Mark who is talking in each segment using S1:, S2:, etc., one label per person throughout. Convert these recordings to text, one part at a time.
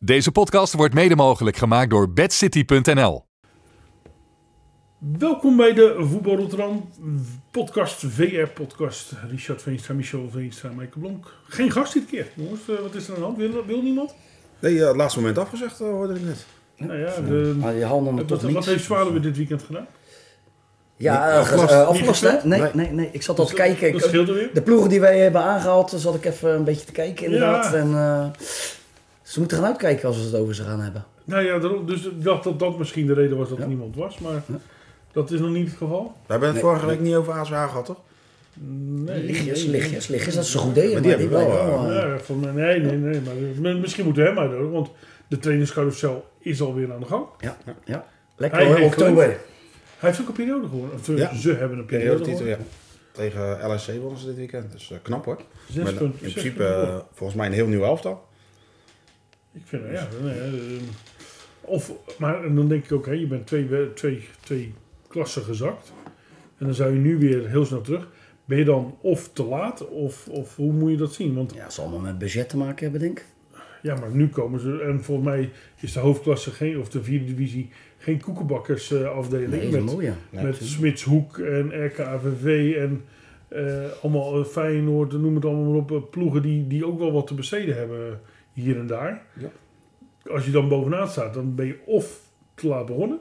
S1: Deze podcast wordt mede mogelijk gemaakt door bedcity.nl.
S2: Welkom bij de Voetbal Rotterdam podcast, VR-podcast. Richard Veenstra, Michel Veenstra, Maaike Blonk. Geen gast dit keer, jongens. Eh, wat is er aan de hand? Wil, wil niemand?
S3: Nee, eh, het laatste moment afgezegd eh, hoorde ik net.
S2: Nou ja, de-
S4: Maar je handen hem
S2: wat,
S4: toch
S2: wat
S4: niet.
S2: heeft Zwaluwe dit weekend gedaan?
S4: Ja,
S3: Nee,
S4: eh, ge-
S3: afgelast.
S4: eh, afgelast
S2: Niet
S4: hè? Nee,
S3: Nee.
S4: nee, nee. Ik zat al te
S2: Dat-
S4: kijken.
S2: Dat
S4: Ik-
S2: scheelde weer.
S4: de ploegen die wij hebben aangehaald, zat ik even een beetje te kijken inderdaad.
S2: Ja.
S4: En eh, ze moeten gaan uitkijken als we het over ze gaan hebben.
S2: Nou ja, daarom- dus ik dacht dat dat misschien de reden was dat er
S4: Ja.
S2: niemand was, maar dat is nog niet het geval.
S3: We hebben het
S4: Nee.
S3: vorige week niet over ASH gehad, toch?
S2: Nee.
S4: Lichtjes, lichtjes, lichtjes. Dat is een goed
S3: Maar
S4: idee. Maar
S3: die
S4: die
S3: hebben
S4: blijven
S3: wel,
S4: wel, eh,
S2: Ja, van, nee, nee, nee. Maar mi- misschien moeten we hem uitnodigen, want de trainerscarousel is alweer aan de gang.
S4: ja, ja,
S2: Hij
S4: Lekker hoor,
S2: heeft
S4: oktober.
S2: Hij heeft ook een periode gewonnen. Of, eh,
S3: Ja.
S2: Ze hebben een periode
S3: Periodetitel,
S2: gewonnen.
S3: ja. Tegen LSC wonnen ze dit weekend, dus eh, knap hoor.
S2: Zes
S3: Maar in
S2: punten, zes
S3: principe
S2: punten
S3: eh, volgens mij een heel nieuw elftal.
S2: Ik vind, ja, nee, eh, of, maar en dan denk ik ook, hè, je bent twee, we- twee, twee klassen gezakt. En dan zou je nu weer heel snel terug. Ben je dan of te laat, of, of hoe moet je dat zien? Want
S4: Ja, het zal allemaal met budget te maken hebben, denk ik.
S2: ja, maar nu komen ze, en volgens mij is de hoofdklasse geen, of de vierde divisie geen koekenbakkersafdeling.
S4: Nee, is een
S2: met
S4: mooie.
S3: Nee,
S2: met Smitshoek en RKVV en eh, allemaal eh, Feyenoord, noem het allemaal maar op. eh, Ploegen die, die ook wel wat te besteden hebben eh, hier en daar.
S3: Ja.
S2: Als je dan bovenaan staat, dan ben je of te laat begonnen.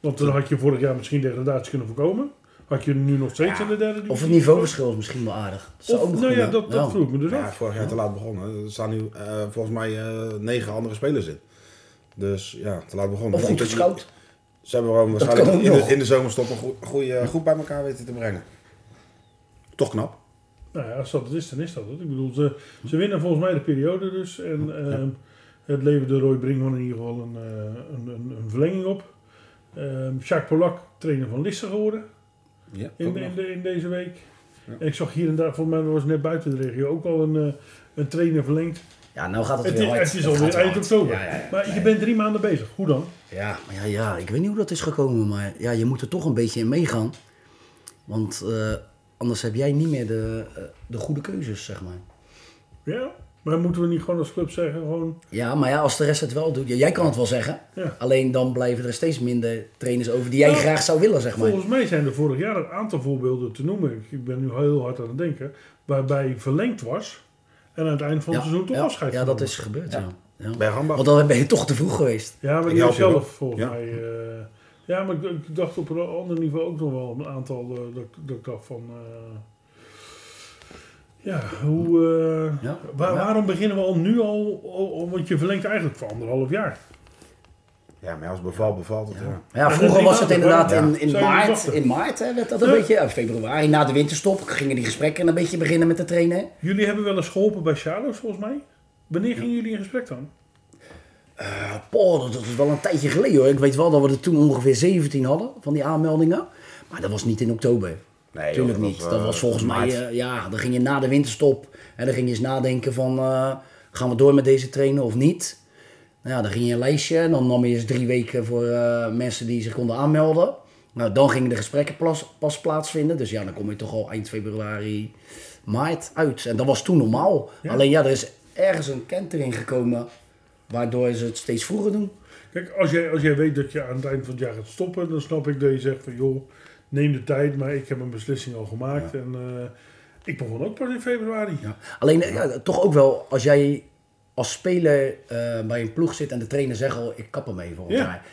S2: Want dan had je vorig jaar misschien degradatie kunnen voorkomen. Had je nu nog steeds in de derde divizie.
S4: Of het niveauverschil is misschien wel aardig. Dat zou
S2: Of,
S4: ook nog
S2: nou ja,
S4: kunnen.
S2: dat, dat vroeg ik me dus
S3: Ja,
S2: af.
S3: vorig jaar te laat begonnen. Er staan nu eh, volgens mij eh, negen andere spelers in. Dus ja, te laat begonnen.
S4: Of goed
S3: Ik-
S4: gescout.
S3: Ze hebben gewoon waarschijnlijk
S4: kan ook
S3: in de,
S4: nog.
S3: in de zomerstop een goe- goede groep bij elkaar weten te brengen. Toch knap.
S2: Nou ja, als dat het is, dan is dat het. Ik bedoel, ze, ze winnen volgens mij de periode dus. En ehm, het leverde Roy Brinkman in ieder geval een, eh, een, een, een verlenging op. Ehm Jacques Polak, trainer van Lisse geworden
S3: Ja,
S2: in,
S3: ook
S2: de-
S3: nog.
S2: in, de- in deze week. En ik zag hier en daar, volgens mij was het net buiten de regio, ook al een, eh, een trainer verlengd.
S4: Ja, nou gaat het,
S2: Het,
S4: weer
S2: is-
S4: hard.
S2: het is
S4: Het
S2: alweer
S4: gaat weer
S2: eind
S4: hard.
S2: oktober.
S4: Ja, ja, ja.
S2: Maar je bent drie maanden bezig. Hoe dan?
S4: Ja, maar ja, ja, ik weet niet hoe dat is gekomen, maar ja, je moet er toch een beetje in meegaan. Want eh, anders heb jij niet meer de, eh, de goede keuzes, zeg maar.
S2: Ja, maar moeten we niet gewoon als club zeggen, gewoon...
S4: Ja, maar ja, als de rest het wel doet, ja, jij kan het wel zeggen.
S2: Ja.
S4: Alleen dan blijven er steeds minder trainers over die jij
S2: Nou,
S4: graag zou willen, zeg maar.
S2: Volgens mij zijn er vorig jaar een aantal voorbeelden te noemen. Ik, ik ben nu heel hard aan het denken. Waarbij verlengd was. En aan het eind van het seizoen toch
S4: ja,
S2: afscheid
S4: Ja, dat
S2: genomen.
S4: is gebeurd, ja. Ja.
S3: Bij Hambach.
S4: Want dan ben je toch te vroeg geweest.
S2: Ja, maar
S3: Ik
S2: die
S3: help je wel.
S2: zelf volgens
S3: Ja.
S2: mij. eh, ja, maar ik, ik dacht op een ander niveau ook nog wel een aantal. eh, dat, ik- dat ik dacht van. eh, ja, hoe, eh,
S4: Ja,
S2: waar-
S4: ja.
S2: waarom beginnen we al nu al, al- al- Want je verlengt eigenlijk voor anderhalf jaar.
S3: Ja, maar als beval bevalt het. Ja.
S4: Maar ja,
S2: Ja,
S4: vroeger
S2: dat
S4: was het
S2: is niet
S4: inderdaad
S2: waar,
S4: in, in
S2: Zou je niet
S4: maart,
S2: wachten.
S4: in maart hè, werd dat een
S2: Ja.
S4: beetje, eh, februari, na de winterstop, gingen die gesprekken een beetje beginnen met de trainen.
S2: Jullie hebben wel eens geholpen bij Charlo's volgens mij. Wanneer gingen jullie in gesprek dan?
S4: Poh, Eh, oh, dat, dat is wel een tijdje geleden hoor. Ik weet wel dat we er toen ongeveer 17 hadden van die aanmeldingen. Maar dat was niet in oktober.
S3: Nee, joh,
S4: Tuurlijk
S3: dat
S4: niet.
S3: was,
S4: dat
S3: eh,
S4: was volgens mij,
S3: maart.
S4: eh, ja, dan ging je na de winterstop. En dan ging je eens nadenken van, eh, gaan we door met deze trainen of niet? Nou ja, dan ging je een lijstje en dan nam je eens drie weken voor eh, mensen die zich konden aanmelden. Nou, dan gingen de gesprekken plas- pas plaatsvinden. Dus ja, dan kom je toch al eind februari, maart uit. En dat was toen normaal. Alleen ja, er is ergens een kentering gekomen waardoor ze het steeds vroeger doen.
S2: Kijk, als jij, als jij weet dat je aan het eind van het jaar gaat stoppen, dan snap ik dat je zegt van joh, neem de tijd, maar ik heb een beslissing al gemaakt. En eh, ik begon ook pas in februari.
S4: Ja. Alleen eh, ja, toch ook wel als jij als speler eh, bij een ploeg zit en de trainer zegt al, ik kap hem even. volgend
S2: Ja.
S4: jaar.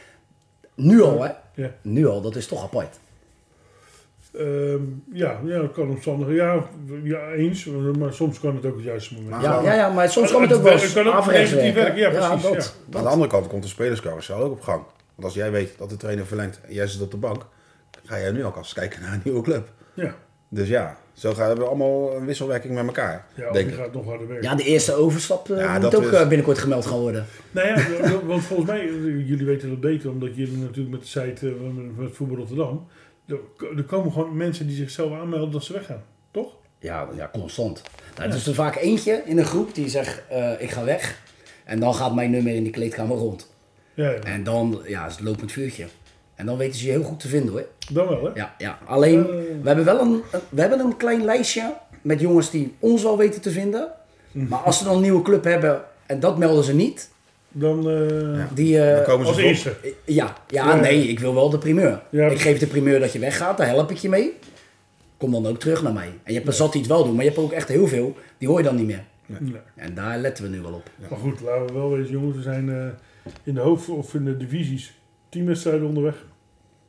S4: Nu al, hè?
S2: Ja.
S4: Nu al, dat is toch apart.
S2: Ehm, ja, ja, dat kan omstandig. Ja, ja, eens, maar soms kan het ook het juiste moment.
S3: Maar-
S2: zijn.
S4: Ja,
S3: nou,
S4: ja, ja, maar soms
S2: het-
S4: kan het ook
S2: het
S4: wel
S2: werkt-
S4: eens
S2: kan ook
S4: averechts
S2: negatief
S4: werken.
S2: werken, ja, precies,
S4: dat,
S3: Aan de andere kant komt de spelerscarousel ook op gang. Want als jij weet dat de trainer verlengt en jij zit op de bank, ga jij nu alvast kijken naar een nieuwe club.
S2: Ja,
S3: Dus ja, zo gaan we allemaal een wisselwerking met elkaar.
S2: ja of
S3: denk
S2: je
S3: ik.
S2: gaat nog harder werken.
S4: ja, de eerste overstap eh,
S3: Ja,
S4: moet
S3: dat
S4: ook
S3: is-
S4: eh, binnenkort gemeld gaan worden.
S2: Nou ja, w- w- want volgens mij, eh, jullie weten dat beter, omdat jullie natuurlijk met de site eh, met- met Voetbal Rotterdam, er k- er komen gewoon mensen die zichzelf aanmelden dat ze weggaan, toch?
S4: Ja, ja constant. Nou, Het is er vaak eentje in een groep die zegt, eh, ik ga weg. En dan gaat mijn nummer in die kleedkamer rond.
S2: Ja,
S3: Eh,
S2: ja.
S4: En dan ja, is het lopend vuurtje. En dan weten ze je heel goed te vinden hoor.
S2: dan wel hè?
S4: Ja, ja. alleen
S2: Eh.
S4: we hebben wel een, we hebben
S2: Mhm.
S4: een klein lijstje met jongens die ons al weten te vinden. Maar als ze dan een nieuwe club hebben En dat melden ze niet.
S2: Dan, eh,
S3: Ja.
S4: Die, eh,
S3: Dan komen ze
S2: als
S3: voor.
S2: eerste.
S4: ja, ja,
S2: Ja, ja.
S4: nee, ik wil wel de primeur.
S2: Ja.
S4: Ik geef de primeur dat je weggaat, daar help ik je mee. Kom dan ook terug naar mij. En je hebt een zat die het wel doen, maar je hebt ook echt heel veel, die hoor je dan niet meer.
S2: Nee.
S4: En daar letten we nu wel op.
S2: Maar goed, laten we wel wezen, jongens. We zijn eh, in de hoofd- of in de divisies tien wedstrijden onderweg.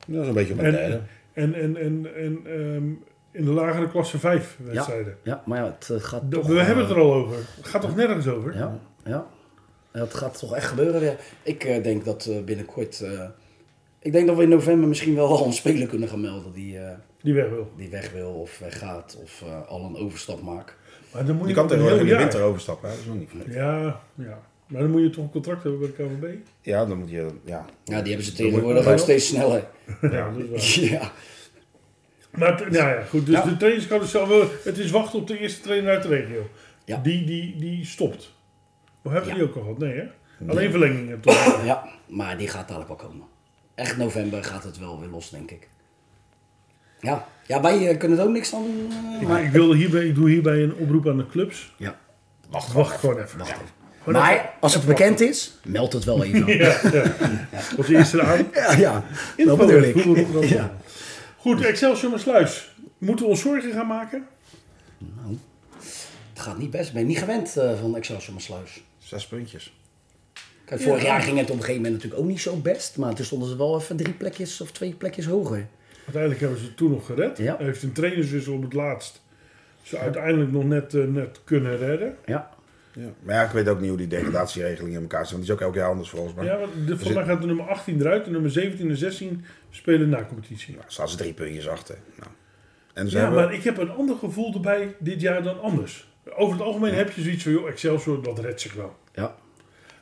S3: Dat is een beetje op mijn
S2: En,
S3: derde.
S2: en, en, en, en ehm, in de lagere klasse vijf wedstrijden.
S4: Ja, maar ja, het eh, gaat
S2: D-
S4: toch...
S2: We
S4: eh,
S2: hebben het er al over. Het gaat toch nergens over?
S4: Ja, ja. Dat gaat toch echt gebeuren weer. Ik eh, denk dat eh, binnenkort... eh, ik denk dat we in november misschien wel al een speler kunnen gaan melden die, eh,
S2: Die weg wil.
S4: die weg wil of weggaat of eh, al een overstap maakt.
S2: Maar dan moet
S3: Je kan
S2: toch een
S3: tegenwoordig in de
S2: heel
S3: winter
S2: jaar-
S3: overstappen, hè? dat is nog niet vergeten.
S2: Ja, ja. Maar dan moet je toch een contract hebben bij de KVB?
S3: Ja, dan moet je... Ja,
S4: Ja, die hebben ze
S3: Dan moet-
S4: tegenwoordig ook steeds sneller.
S2: Ja, dat is waar.
S4: Ja,
S2: Maar het- nou ja, goed. Dus
S4: Ja.
S2: de trainingscarousel, wel- het is wachten op de eerste trainer uit de regio.
S4: Ja.
S2: Die, die, die stopt. Maar hebben we
S4: Ja.
S2: die ook al gehad? Nee, hè? Alleen verlengingen toch?
S4: ja, maar die gaat dadelijk wel komen. Echt november gaat het wel weer los, denk ik. Ja, ja wij eh, kunnen er ook niks aan doen. eh, maar...
S2: Maar ik, wil hierbij, ik doe hierbij een oproep aan de clubs.
S4: Ja,
S2: Wacht, wacht gewoon even.
S4: wacht
S2: Ja.
S4: even.
S2: Gewoon
S4: Maar als het bekend is, meld het wel even.
S2: Ja, ja. Als eerste Nou, aan.
S4: Ja, ja. dat
S2: Info,
S4: bedoel ik.
S2: Google Rotterdam.
S4: Ja.
S2: Goed, Excelsior Sluis. Moeten we ons zorgen gaan maken?
S4: Het gaat niet best. Ik ben niet gewend eh, van Excelsior Maasluis.
S3: zes puntjes.
S4: Kijk, vorig jaar ging het op een gegeven moment natuurlijk ook niet zo best. Maar toen stonden ze wel even drie plekjes of twee plekjes hoger.
S2: Uiteindelijk hebben ze het toen nog gered.
S4: Ja.
S2: Hij heeft een trainerswissel op het laatst. Ze uiteindelijk nog net, eh, net kunnen redden.
S4: Ja.
S3: Ja. Maar ja, ik weet ook niet hoe die degradatieregeling in elkaar zit. Want die is ook elk jaar anders volgens mij.
S2: Ja,
S3: Ja,
S2: want de, volgens mij gaat de nummer 18 eruit. De nummer 17 en 16 spelen na competitie.
S3: staan ze drie puntjes achter. Nou. En ze
S2: Ja,
S3: hebben...
S2: maar ik heb een ander gevoel erbij dit jaar dan anders. Over het algemeen heb je zoiets van, joh, Excelsior, dat redt zich wel.
S4: Ja.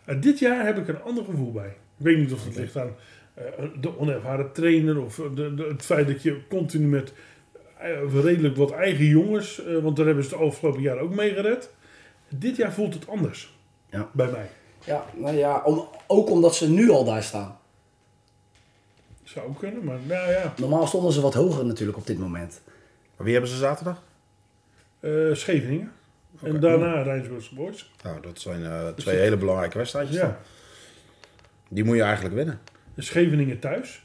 S2: En dit jaar heb ik een ander gevoel bij. Ik weet niet of dat ligt aan eh, de onervaren trainer of eh, de, de- het feit dat je continu met eh, redelijk wat eigen jongens, eh, want daar hebben ze het afgelopen jaar ook mee gered. Dit jaar voelt het anders
S4: Ja.
S2: bij mij.
S4: Ja, nou ja, om, ook omdat ze nu al daar staan.
S2: Zou ook kunnen, maar nou ja.
S4: Normaal stonden ze wat hoger natuurlijk op dit moment.
S3: Maar Wie hebben ze zaterdag?
S2: Eh, Scheveningen. En daarna Rijnsburgse Boys.
S3: Nou, dat zijn eh, twee hele belangrijke wedstrijdjes dan.
S2: Ja.
S3: Die moet je eigenlijk winnen.
S2: Scheveningen thuis.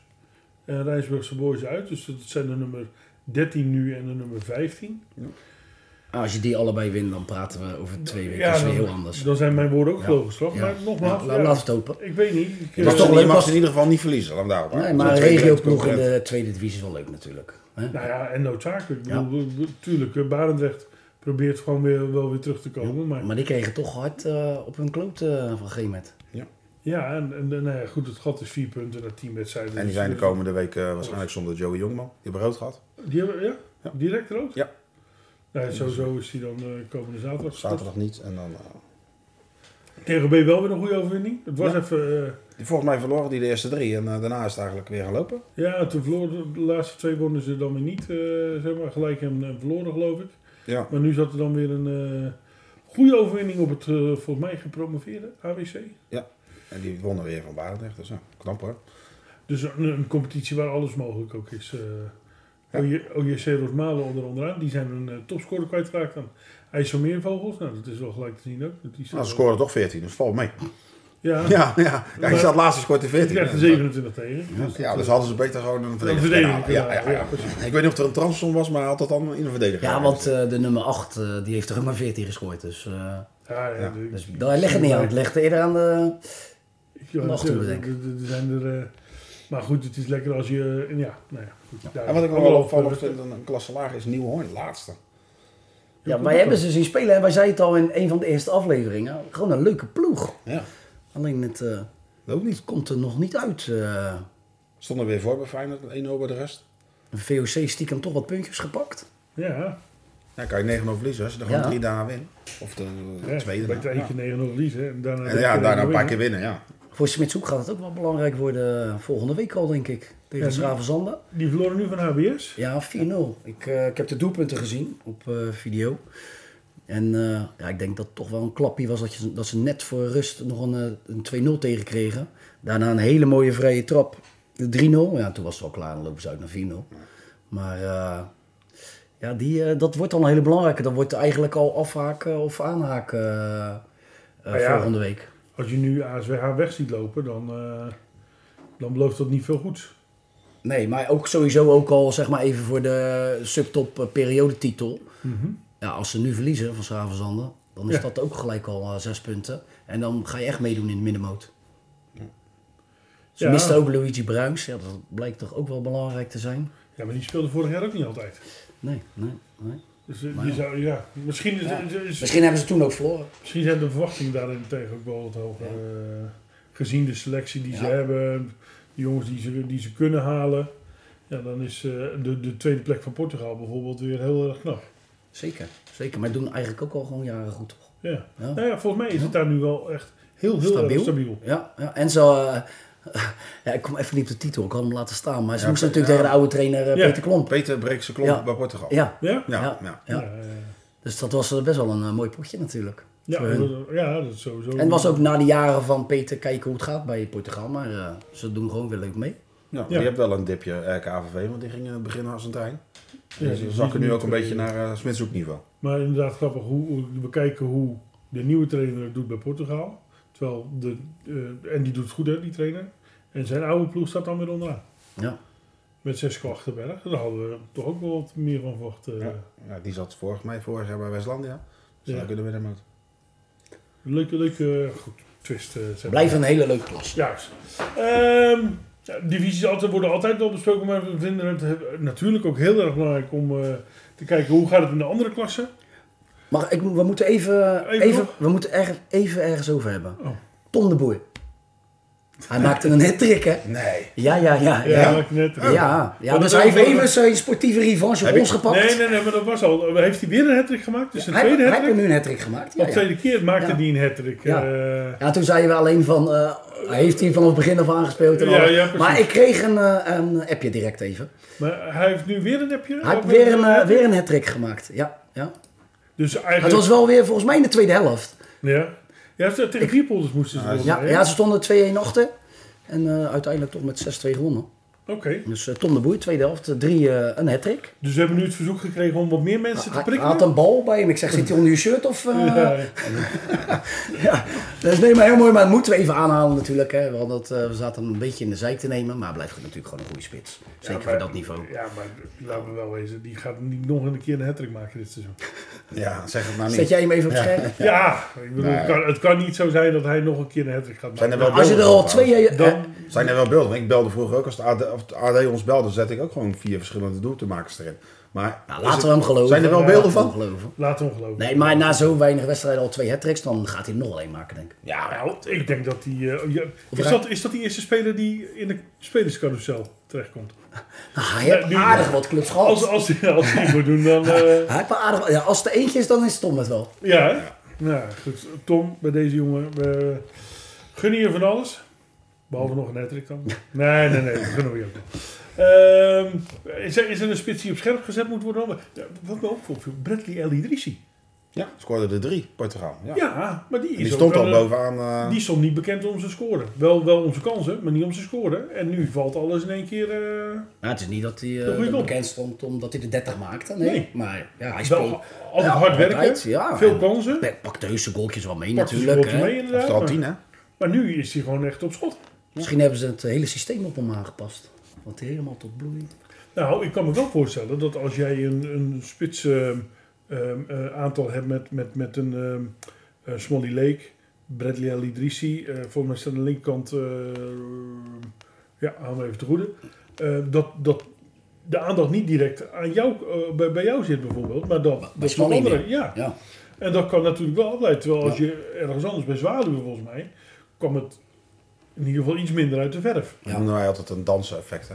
S2: En Rijnsburgse Boys uit. Dus dat zijn de nummer 13 nu en de nummer 15.
S4: Ah, als je die allebei wint, dan praten we over twee weken. dat
S2: Ja,
S4: is weer
S2: dan,
S4: heel anders.
S2: dan zijn mijn woorden ook
S4: Ja.
S2: gelogenstraf. Maar
S4: Ja.
S2: nogmaals,
S4: Ja, laat-
S2: ja,
S4: laat het open.
S2: ik weet niet. Ik,
S3: Je
S2: eh,
S3: mag,
S4: toch
S3: ze, je
S4: leuk
S3: mag
S4: als-
S3: ze in ieder geval niet verliezen. Laat daarop.
S4: Nee, maar een regioploeg in de tweede divisie is wel leuk natuurlijk. Hè?
S2: Nou ja, en noodzakelijk.
S4: Ja.
S2: Ik bedoel, we- we- Tuurlijk, eh, Barendrecht probeert gewoon weer, wel weer terug te komen. Maar
S4: Maar die kregen toch hard eh, op hun kloot eh, van een gegeven moment.
S2: ja, en, en, en, nou ja, goed, het gat is vier punten na tien wedstrijden.
S3: En die
S2: Dus-
S3: zijn de komende week eh, waarschijnlijk zonder Joey Jongman. Die hebben rood gehad.
S2: Die hebben, ja?
S3: Ja.
S2: Direct rood?
S3: Ja. dus-
S2: Nou, ja, sowieso is die dan eh, komende zaterdag. gestopt.
S3: Zaterdag niet. En dan, eh,
S2: Tegen B wel weer een goede overwinning. Het was
S3: Ja.
S2: even... eh,
S3: die volgens mij verloren die de eerste drie. En eh, daarna is het eigenlijk weer gaan lopen.
S2: ja, toen verloren de laatste twee wonnen ze dan weer niet. eh, zeg maar, gelijk en, en verloren geloof ik.
S3: Ja.
S2: Maar nu zat er dan weer een eh, goede overwinning op het eh, volgens mij gepromoveerde AWC.
S3: En die wonnen weer van Barendrecht. Dus ja, knap hoor.
S2: Dus een, een competitie waar alles mogelijk ook is. eh OJ- OJC Rosmalen onder onderaan, die zijn een eh, topscorer kwijtgeraakt aan IJsselmeervogels. Nou, dat is wel gelijk te zien ook. Dat die
S3: Nou,
S2: staat-
S3: ze scoren toch 14. Dus valt mee.
S2: Ja,
S3: Ja, ja. ja die zat laatst gescoord in
S2: die
S3: 14.
S2: krijgt een 27 tegen. Dus
S3: Ja,
S2: dat,
S3: dus
S2: eh,
S3: hadden ze beter gewoon een
S2: dat
S3: verdediger. kunnen
S2: verdedigen.
S3: halen. Ja, ja, ja.
S2: precies.
S3: Ik weet niet of er een transfer was, maar hij had dat dan in de verdediger.
S4: Ja, want eh, de nummer 8 eh, die heeft er ook maar 14 gescoord. Dus, eh
S2: Ja, ja,
S3: Ja,
S2: de-
S4: dus daar leg het niet aan. Het ligt eerder aan de...
S2: ik wil
S4: mag
S2: het zeggen,
S4: toe, denk
S2: er- er- er zijn er, eh, maar goed, het is lekker als je... en Ja, nou ja, goed, daar-
S4: eh,
S3: En wat ik nog wel
S2: Anderhalf
S3: opvallend
S2: wedstrijd.
S3: vind, een, een klasse lager is Nieuwhoorn, de laatste.
S4: Ja, wij hebben ze zien spelen en wij zeiden het al in een van de eerste afleveringen. Gewoon een leuke ploeg.
S3: Ja,
S4: Alleen het eh,
S3: dat ook niet.
S4: komt er nog niet uit. eh.
S3: Stond er weer voor bij Feyenoord, 1-0 bij de rest.
S4: Een VOC stiekem toch wat puntjes gepakt.
S2: Ja,
S3: Ja, kan je 9-0 verliezen als je er gewoon
S4: Ja.
S3: drie daarna wint. Of de
S2: ja,
S3: tweede
S2: bij E
S3: daarna.
S2: twee
S3: Ja.
S2: keer 9 verliezen. En daarna,
S3: En
S2: drie
S3: ja,
S2: keer
S3: daarna een
S2: winnen.
S3: paar keer winnen, ja.
S4: Voor Smitshoek gaat het ook wel belangrijk worden eh, volgende week al, denk ik. Tegen
S2: Ja,
S4: Schravenzanden.
S2: Die verloren nu van HBS.
S4: Ja, 4-0. Ik, eh, ik heb de doelpunten gezien op eh, video. En eh, ja, ik denk dat het toch wel een klapje was dat, je, dat ze net voor rust nog een, eh, een 2-0 tegenkregen. Daarna een hele mooie vrije trap. De 3-0. Ja, toen was het wel klaar. Dan lopen ze uit naar 4-0. Maar eh, ja, die, eh, dat wordt dan een hele belangrijke. Dat wordt eigenlijk al afhaken of aanhaken eh, eh,
S2: Nou ja.
S4: volgende week.
S2: Als je nu ASWH weg ziet lopen, dan, eh, dan belooft dat niet veel goed.
S4: Nee, maar ook sowieso ook al zeg maar even voor de subtop eh, periodetitel. Ja, als ze nu verliezen van Schravenzanden, dan is
S2: Mhm. Ja.
S4: dat ook gelijk al eh, zes punten. En dan ga je echt meedoen in de middenmoot. Ze
S2: Ja.
S4: misten ook Luigi Bruins. Ja, dat blijkt toch ook wel belangrijk te zijn.
S2: Ja, maar die speelde vorig jaar ook niet altijd.
S4: Nee, nee, nee.
S2: Dus eh,
S4: Maar
S2: je
S4: ja.
S2: zou, ja, misschien, is,
S4: Ja.
S2: is- is-
S4: Dus Misschien hebben ze toen ook verloren.
S2: misschien zijn de verwachtingen daarentegen ook wel wat hoger. eh, gezien de selectie die ze
S4: Ja.
S2: hebben, de jongens die ze, die ze kunnen halen. Ja, dan is eh, de, de tweede plek van Portugal bijvoorbeeld weer heel erg knap.
S4: Zeker, zeker. Maar doen eigenlijk ook al gewoon jaren goed, toch?
S2: Ja.
S4: Ja.
S2: Nou ja, volgens mij is het daar nu wel echt heel, heel
S4: Stabiel.
S2: erg stabiel.
S4: Ja, ja. en zo... eh, ja, ik kom even niet op de titel, ik had hem laten staan. Maar ze
S3: Ja,
S4: moesten
S3: oké,
S4: natuurlijk
S3: ja.
S4: tegen de oude trainer eh,
S2: Ja.
S4: Peter Klomp.
S3: Peter breekt zijn klomp
S4: Ja.
S3: bij Portugal.
S4: Ja,
S2: Ja?
S3: Ja,
S4: Ja.
S3: ja.
S4: ja.
S2: eh,
S4: dus dat was eh, best wel een eh, mooi potje natuurlijk.
S2: ja,
S4: Voor hun.
S2: dat- ja, dat is sowieso.
S4: En het was ook na de jaren van Peter kijken hoe het gaat bij Portugal. Maar eh, ze doen gewoon weer leuk mee.
S3: Ja, maar
S2: Ja.
S3: Die hebt wel een dipje eh, KVV, want die ging in het begin als een trein.
S2: Ja,
S3: Dus
S2: die
S3: ze zakken
S2: is
S3: nu
S2: niet
S3: ook een
S2: meer-
S3: beetje naar eh Smitshoek-niveau.
S2: Maar inderdaad grappig hoe, hoe we kijken hoe de nieuwe trainer het doet bij Portugal. Terwijl de, eh, en die doet het goed hè, die trainer. En zijn oude ploeg staat dan weer onderaan.
S4: Ja.
S2: Met zes Achterberg. Daar hadden we toch ook wel wat meer van verwacht. eh.
S3: Ja. Ja, die zat vorig, mij vorig jaar bij Westlandia. Dus
S2: Ja.
S3: daar kunnen we ermee.
S2: Leuke, leuke eh, goed, twist. eh, zeg maar.
S4: Blijft een hele leuke klas.
S2: Juist. Ehm, ja, divisies altijd, worden altijd wel besproken, maar we vinden het eh, natuurlijk ook heel erg belangrijk om eh, te kijken hoe gaat het in de andere klassen.
S4: Maar ik, we moeten even,
S2: Even
S4: even,
S2: nog?
S4: we moeten er, even ergens over hebben.
S2: Oh.
S4: Tom de Boer. Hij maakte een hat-trick, hè?
S3: Nee.
S4: Ja, ja, ja.
S2: Ja,
S4: Ja,
S2: maak je net.
S4: ja. ja,
S2: dat is
S4: dus hij heeft
S2: ook wel-
S4: even zijn sportieve revanche op
S3: Heb
S4: ons
S3: je-
S4: gepakt.
S2: Nee, nee, nee, maar dat was al. Heeft hij weer een hattrick gemaakt? Dus een
S4: Hij,
S2: tweede
S4: hij heeft
S2: hattrick?
S4: nu een hat-trick gemaakt. Ja,
S2: de
S4: ja.
S2: tweede keer maakte
S4: Ja.
S2: hij een hattrick.
S4: Ja.
S2: eh,
S4: ja, toen zeiden we alleen van, eh, hij heeft hij vanaf het begin af aangespeeld. En
S2: Ja,
S4: alles.
S2: ja, precies.
S4: maar ik kreeg een, eh, een appje direct even.
S2: maar hij heeft nu weer een appje.
S4: Hij heeft weer een, eh, weer een hat-trick gemaakt. Ja, ja.
S2: Dus
S4: Het
S2: eigenlijk.
S4: was wel weer volgens mij in de tweede helft.
S2: Ja. Ja, ze- tegen vier polders moesten ze
S4: Ja,
S2: winnen, hè?
S4: ja ze stonden 2-1 achter. En eh, uiteindelijk toch met 6-2 gewonnen.
S2: Oké.
S4: Dus eh, Tom de Boer, tweede helft, eh, drie, eh, een hat-trick.
S2: Dus we hebben nu het verzoek gekregen om wat meer mensen te
S4: Hij, hij
S2: prikken.
S4: had een bal bij hem. Ik zeg, zit hij onder je shirt of... eh,
S2: Ja, ja.
S4: ja. Dus nee, maar heel mooi. Maar dat moeten we even aanhalen natuurlijk. Hè. We, hadden het, eh, we zaten hem een beetje in de zijk te nemen. Maar hij blijft natuurlijk gewoon een goede spits. Zeker
S2: maar-
S4: voor dat niveau.
S2: Ja, maar laten we wel wezen, die gaat niet nog een keer een hattrick maken dit seizoen.
S3: Ja, zeg het nou niet.
S4: Zet jij hem even op scherm?
S2: Ja, ik bedoel,
S3: Nee.
S2: het, kan, het kan niet zo zijn dat hij nog een keer een hattrick gaat
S3: Zijn
S2: maken.
S3: er wel
S4: Als je er
S3: beelden
S4: al
S3: van
S4: twee... eh, eh,
S2: Dan,
S3: Zijn er wel beelden? Want Ik belde vroeger ook. Als de AD, of de AD ons belde, zet ik ook gewoon vier verschillende doeltenmakers erin. Maar
S4: nou,
S3: is
S4: laten
S3: het-
S4: we hem geloven.
S3: Zijn er wel
S4: Ja,
S3: beelden
S4: laten we
S3: van?
S4: hem geloven.
S2: laat hem geloven.
S4: Nee, maar na zo weinig wedstrijden al twee hat-tricks, dan gaat hij er nog wel één maken, denk ik.
S3: Ja,
S2: Nou, ik denk dat die... eh, ja, is,
S4: hij-
S2: dat, is dat die eerste speler die in de spelerscarousel terechtkomt?
S4: Nou, hij heeft
S2: Ja, nu-
S4: aardig wat clubs gehad.
S2: Als, als, die- als die moet doen, dan... eh,
S4: Hij heeft wel aardig, ja, als het er eentje is, dan is Tom het wel.
S2: ja, hè? Nou, goed. Tom, bij deze jongen, we gunnen je van alles. Behalve nog een hattrick dan. Nee, nee, nee, dat gunnen we je ook nog. Ehm, is, er, is er een spits die op scherp gezet moet worden? Dan- Ja, Wat me ook opviel, Bradley El Idrissi.
S3: ja, scoorde er drie, Portugal. Ja.
S2: Ja, maar die, is
S3: die
S2: ook
S3: stond
S2: wel
S3: al
S2: een-
S3: bovenaan. eh,
S2: Die stond niet bekend om zijn scoren. Wel, wel om zijn kansen, maar niet om zijn scoren. En nu valt alles in één keer. eh,
S4: Nou, het is niet dat hij eh,
S2: goede kop.
S4: bekend stond omdat hij de 30 maakte. Nee.
S2: Nee.
S4: Maar ja, hij
S2: wel
S4: speelt.
S2: altijd
S4: Ja,
S2: hard werken.
S4: altijd, ja.
S2: Veel
S4: En
S2: kansen.
S4: Hij pakt de heuse goaltjes wel mee
S2: Pakt zijn
S4: natuurlijk.
S2: scoortje
S4: hè.
S2: mee,
S3: Of
S2: inderdaad.
S3: er al
S2: maar-
S3: tien, hè?
S2: Maar nu is hij gewoon echt op schot.
S4: Misschien hebben ze het hele systeem op hem aangepast. Want hij helemaal tot bloei.
S2: Nou, ik kan me wel voorstellen dat als jij een, een spits ehm, ehm, eh, aantal hebt met, met, met een ehm eh, Smolly Lake, Bradley El Idrissi, eh, volgens mij staat aan de linkerkant, eh, ja, hou me even te goede, eh, dat, dat de aandacht niet direct aan jou, eh, bij, bij jou zit bijvoorbeeld, maar dat, dat van
S4: Smolly
S2: anderen,
S4: meer.
S2: ja.
S4: Ja.
S2: En dat kan natuurlijk wel afleiden. Terwijl als je ergens anders bij Zwaluwe, volgens mij, kwam het in ieder geval iets minder uit de verf.
S4: Ja.
S3: Dat noemen wij altijd een dansen-effect, hè?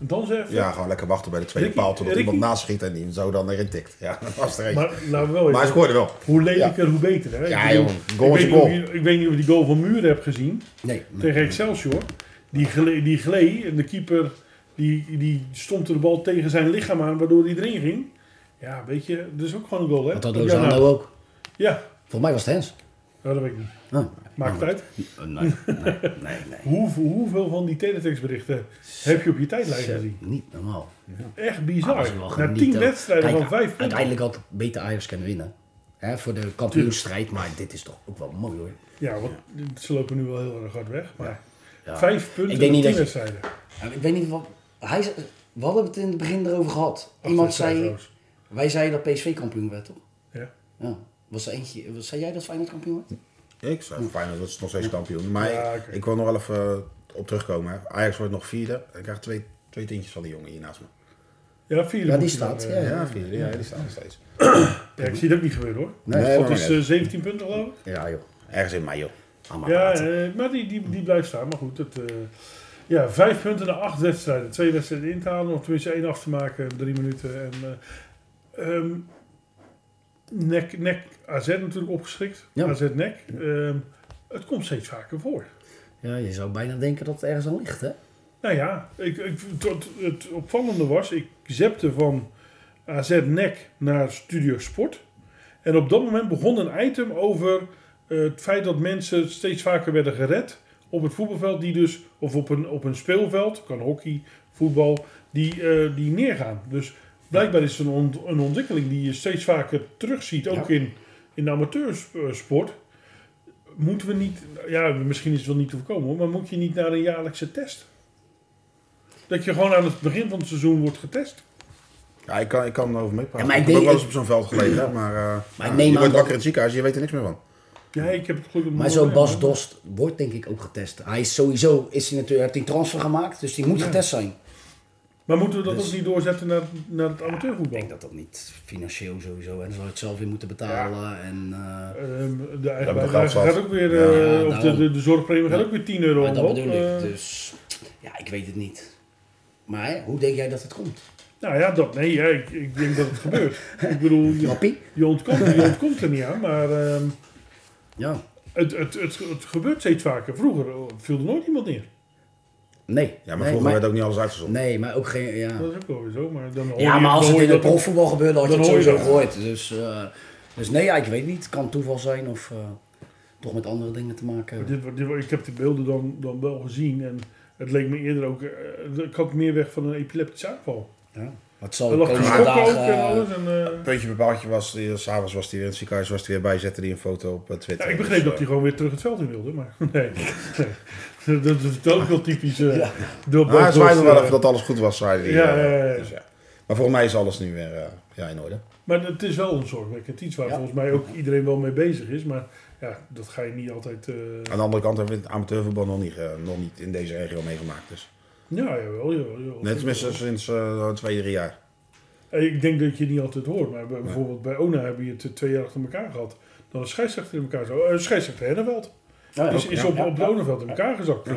S2: En dan zeg
S3: Ja, gewoon lekker wachten bij de tweede
S2: Ricky,
S3: paal totdat
S2: Ricky.
S3: iemand naast schiet en die hem zo dan erin tikt. Ja, dat was er één.
S2: maar
S3: Maar,
S2: laten we wel
S3: hij
S2: even-
S3: scoorde wel.
S2: Hoe lelijker, hoe beter. Hè?
S3: Ja,
S2: Ik bedoel,
S3: jongen, goal
S2: ik
S3: is
S2: weet niet
S3: goal.
S2: of je- Ik weet niet of je die goal van Muren hebt gezien
S4: Nee. nee.
S2: tegen Excelsior. Die glee, die glee en de keeper die, die stompte de bal tegen zijn lichaam aan, waardoor hij erin ging. Ja, weet je, dat is ook gewoon een goal, hè?
S4: Want dat
S2: Ja,
S4: Lozano
S2: nou,
S4: ook.
S2: Ja,
S4: Volgens mij was het Hens.
S2: Ja, dat weet ik niet.
S4: Oh.
S2: Maakt het uit.
S4: Eh, Nee, nee, nee. nee.
S2: Hoeveel, hoeveel van die teletextberichten heb je op je tijdlijn
S4: Zo,
S2: gezien?
S4: Niet normaal.
S2: Echt
S4: Maar dat is wel
S2: bizar. Na
S4: genieten.
S2: tien wedstrijden
S4: Kijk,
S2: van vijf punten.
S4: Uiteindelijk had beter Ajax kunnen winnen. Hè, voor de kampioensstrijd. Maar dit is toch ook wel mooi hoor.
S2: Ja, want ze lopen nu wel heel erg hard weg. Maar
S4: Ja.
S2: vijf punten
S4: Ik denk
S2: in
S4: niet
S2: tien
S4: dat je-
S2: wedstrijden.
S4: Ja, Ik weet niet wat. Hij, ze- we hadden het in het begin erover gehad.
S2: Acht
S4: Iemand
S2: wedstrijden
S4: zei.
S2: trouwens.
S4: Wij zeiden dat PSV kampioen werd, toch?
S2: Ja.
S4: Ja. Was er eentje. was- Zei jij dat Feyenoord kampioen werd?
S3: Ik zou Feyenoord dat is nog steeds kampioen. Maar
S2: Ja,
S3: ik,
S2: oké.
S3: ik wil nog wel even eh, op terugkomen. Hè. Ajax wordt nog vierde. Ik krijg twee, twee tintjes van die jongen hier naast me.
S2: Ja, vierde
S4: Ja,
S2: moet
S4: die
S2: je dan,
S4: staat,
S2: eh,
S4: ja.
S3: Ja, vierde. Ja, die staan nog steeds.
S2: ja, ik zie dat niet gebeuren hoor.
S3: Nee,
S2: Dat
S3: maar
S2: is
S3: net.
S2: eh, 17 punten geloof ik.
S4: Ja, joh.
S3: Ergens in mei, joh.
S4: Allemaal
S2: Ja,
S4: praten.
S2: eh, maar die, die, die blijft staan. Maar goed, het, eh, ja, vijf punten na acht wedstrijden. Twee wedstrijden in te halen, of tenminste één af te maken, drie minuten. En, eh, ehm, nek, nek, AZ natuurlijk opgeschrikt.
S4: Ja.
S2: AZ nek. Ehm, het komt steeds vaker voor.
S4: ja, je zou bijna denken dat het ergens al ligt, hè?
S2: Nou ja, ik, ik, het, het opvallende was, ik zepte van AZ Nek naar Studio Sport. En op dat moment begon een item over eh, het feit dat mensen steeds vaker werden gered op het voetbalveld, die dus, of op een, op een speelveld, kan hockey, voetbal, die, eh, die neergaan. Dus blijkbaar is het een, ont- een ontwikkeling die je steeds vaker terugziet, ook in, in de amateursport. Moeten we niet, ja, misschien is het wel niet te voorkomen, hoor, maar moet je niet naar een jaarlijkse test? Dat je gewoon aan het begin van het seizoen wordt getest.
S3: Ja, ik kan, ik kan erover meepraten.
S4: Ja,
S3: Ja, ik
S4: maar ik
S3: heb ook
S4: denk-
S3: wel eens op zo'n veld gelegen. hè, Maar, eh,
S4: Maar
S3: ja,
S4: ik neem
S3: je
S4: aan
S3: wordt
S4: dat-
S3: wakker in het ziekenhuis, je weet er niks meer van.
S2: Ja, ik heb het gelukkig nog wel
S4: Maar zo
S2: gedaan,
S4: Bas
S2: hoor.
S4: Dost wordt denk ik ook getest. Hij is sowieso, is hij natuurlijk, heeft hij een transfer gemaakt, dus die moet getest zijn. Ik
S2: Maar moeten we dat ook niet doorzetten naar, naar het amateurvoetbal?
S4: Dus- denk dat dat niet financieel sowieso, en dan zal je het zelf weer moeten betalen. En, eh,
S2: Ehm, de
S3: hebben
S2: eigenaar
S3: toch
S2: gaat
S3: geld gehad.
S2: ook weer, eh,
S4: Ja,
S2: of de, de,
S4: daarom.
S2: de zorgpremie gaat
S4: Ja.
S2: ook weer 10 euro
S4: maar dat
S2: omhoog.
S4: bedoel
S2: Eh,
S4: ik. Dus ja, ik weet het niet. Maar hè, hoe denk jij dat het komt?
S2: Nou ja, dat, nee, ja, ik, ik denk dat het gebeurt. ik bedoel, je,
S4: Rappie?
S2: je, ontkomt, je ontkomt er niet aan, maar ehm,
S4: Ja.
S2: het, het, het, het gebeurt steeds vaker. Vroeger eh, viel er nooit iemand neer.
S4: Nee.
S3: Ja, maar
S4: nee,
S3: vroeger werd ook niet alles uitgezonden.
S4: Nee, maar ook geen... Ja.
S2: Dat is ook wel weer zo. Maar dan hoor
S4: Ja,
S2: je-
S4: maar
S2: dan
S4: als
S2: hoor
S4: het
S2: je
S4: in het
S2: dat-
S4: profvoetbal gebeurde, had je
S2: dan
S4: het
S2: hoor je
S4: sowieso
S2: dat.
S4: gehoord. Dus, eh, dus nee, ja, ik weet niet. Het kan toeval zijn of eh, toch met andere dingen te maken hebben.
S2: Dit, wordt- dit, wordt- ik heb die beelden dan, dan wel gezien en het leek me eerder ook... eh, ik had meer weg van een epileptische aanval.
S4: Ja. Maar het zal
S3: Oh,
S2: Er
S4: de
S2: lag die
S4: komende
S2: schok ook
S4: dagen...
S2: en
S4: eh,
S2: alles. En, eh,
S3: Puntje bepaaltje was, die- eh, s'avonds was hij weer in het ziekenhuis, was hij weer bij, zette hij een foto op eh,
S2: ja,
S3: Twitter.
S2: ik begreep
S3: Dus,
S2: dat
S3: eh,
S2: hij gewoon weer terug het veld in wilde, maar nee. nee. dat is ook wel typisch. eh
S4: Ja.
S2: door
S3: Maar Nou, hij
S2: Bas
S3: zwaaide
S2: Dost,
S3: wel
S2: eh,
S3: even dat alles goed was, zei hij.
S2: Ja,
S3: eh,
S2: ja, ja, ja.
S3: dus Maar volgens mij is alles nu weer eh, ja, in orde.
S2: Maar het is wel een zorgwekkend iets waar
S4: Ja.
S2: volgens mij ook iedereen wel mee bezig is. Maar ja, dat ga je niet altijd... eh
S3: Aan de andere kant hebben we het amateurvoetbal nog niet, eh, nog niet in deze regio meegemaakt. Dus.
S2: Ja, jawel, jawel, jawel.
S3: Net tenminste sinds eh, twee, drie jaar.
S2: Eh, Ik denk dat je het niet altijd hoort, maar bij- bijvoorbeeld bij ONA hebben je het eh, twee jaar achter elkaar gehad. Dan was scheidsrechter in elkaar zo. eh, scheidsrechter Henneveld
S4: ja,
S2: is,
S4: ook,
S2: is
S4: ja.
S2: op,
S4: Ja,
S2: op
S4: ja.
S2: Lonenveld in elkaar gezakt. eh,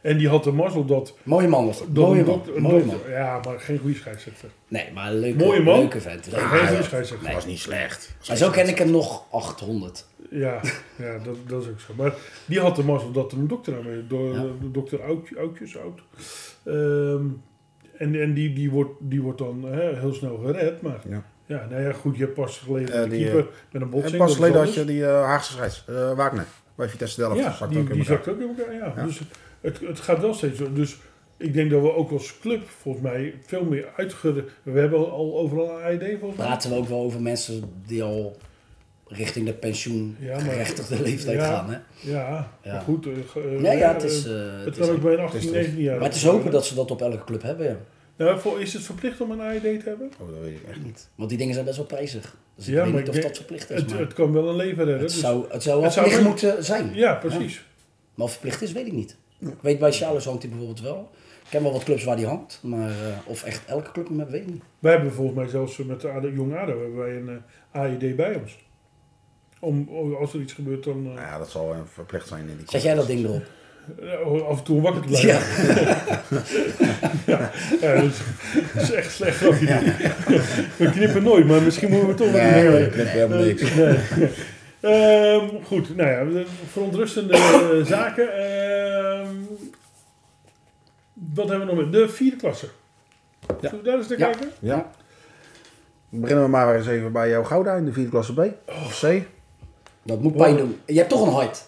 S2: en die had de mazzel dat...
S4: Mooie man was dat.
S2: dat
S4: Mooie
S2: een
S4: man.
S2: dokter- een
S4: Mooie man.
S2: dokter- Ja, maar geen goede scheidsrechter.
S4: Nee, maar een leuke,
S2: Mooie man.
S4: leuke vent.
S2: Ja,
S4: Maar
S2: geen goede scheidsrechter.
S3: Dat was niet slecht.
S4: zo ken ik hem nog 800.
S2: Ja, ja dat, dat is ook zo. Maar die had de mazzel dat er een dokter aan mee, door
S4: Ja.
S2: de dokter Oud- Oudjes, Oud. Ehm, en en die, die, wordt, die wordt dan hè, heel snel gered. Maar ja.
S3: Ja.
S2: nou ja, goed, je hebt pas geleden
S3: Eh,
S2: een
S3: die,
S2: keeper met een botsing.
S3: En pas
S2: dat is
S3: geleden had
S2: anders.
S3: je die eh, Haagse scheids, eh, Wagner, bij Vitesse Delft.
S2: Ja,
S3: Zakt
S2: die,
S3: ook in
S2: die
S3: elkaar.
S2: zakt ook in elkaar. Ja.
S3: Ja.
S2: Dus het, het gaat wel steeds zo. Dus ik denk dat we ook als club volgens mij veel meer uitge... We hebben al overal een AED volgens mij.
S4: Praten we ook wel over mensen die al richting de
S2: Ja, maar-
S4: pensioengerechtigde leeftijd
S2: Ja.
S4: gaan. Hè?
S2: Ja,
S4: Ja.
S2: maar goed. eh, ge- eh,
S4: Ja, ja, het is...
S2: eh,
S4: eh,
S2: het
S4: het
S2: kan
S4: is
S2: ook bij een 18,
S3: triest.
S2: 19 jaar.
S4: maar het is hopen dat ze dat op elke club hebben, ja.
S2: Nou, voor- is het verplicht om een AED te hebben?
S3: Oh, dat weet ik echt niet.
S4: Want die dingen zijn best wel prijzig. Dus ik
S2: Ja,
S4: weet
S2: maar
S4: niet
S2: ik
S4: of
S2: denk-
S4: dat verplicht is.
S2: Het,
S4: maar
S2: het kan wel een leven redden.
S4: het,
S2: dus-
S4: zou, het zou wel
S2: het zou
S4: verplicht
S2: wel-
S4: moeten zijn.
S2: ja, precies.
S4: Maar of verplicht is, weet ik niet. Ik weet bij Charles hangt hij bijvoorbeeld wel. Ik ken wel wat clubs waar die hangt. Maar eh, of echt elke club hem heeft, weet ik niet.
S2: Wij hebben volgens mij zelfs met de ADO, Jong ADO hebben wij een eh, AED bij ons. Om, om- als er iets gebeurt, dan
S3: Nou
S2: eh,
S3: ja, dat zal eh, verplicht zijn in die
S4: Zet jij dat ding erop?
S2: eh, af en toe wakker te blijven.
S4: Ja.
S2: Ja. dat, is, dat is echt slecht grapje. We knippen nooit, maar misschien moeten we toch wel
S3: Nee,
S2: een-
S3: nee, ik knip helemaal niks.
S2: Ehm, goed, nou ja, de verontrustende eh, zaken. Ehm, wat hebben we nog meer? De vierde klasse. Zullen we daar eens naar
S4: Ja.
S2: kijken?
S3: Ja. Beginnen we maar eens even bij jouw Gouda in de vierde klasse B. Of C.
S2: Eh,
S4: Dat moet pijn doen. Je hebt toch een hart.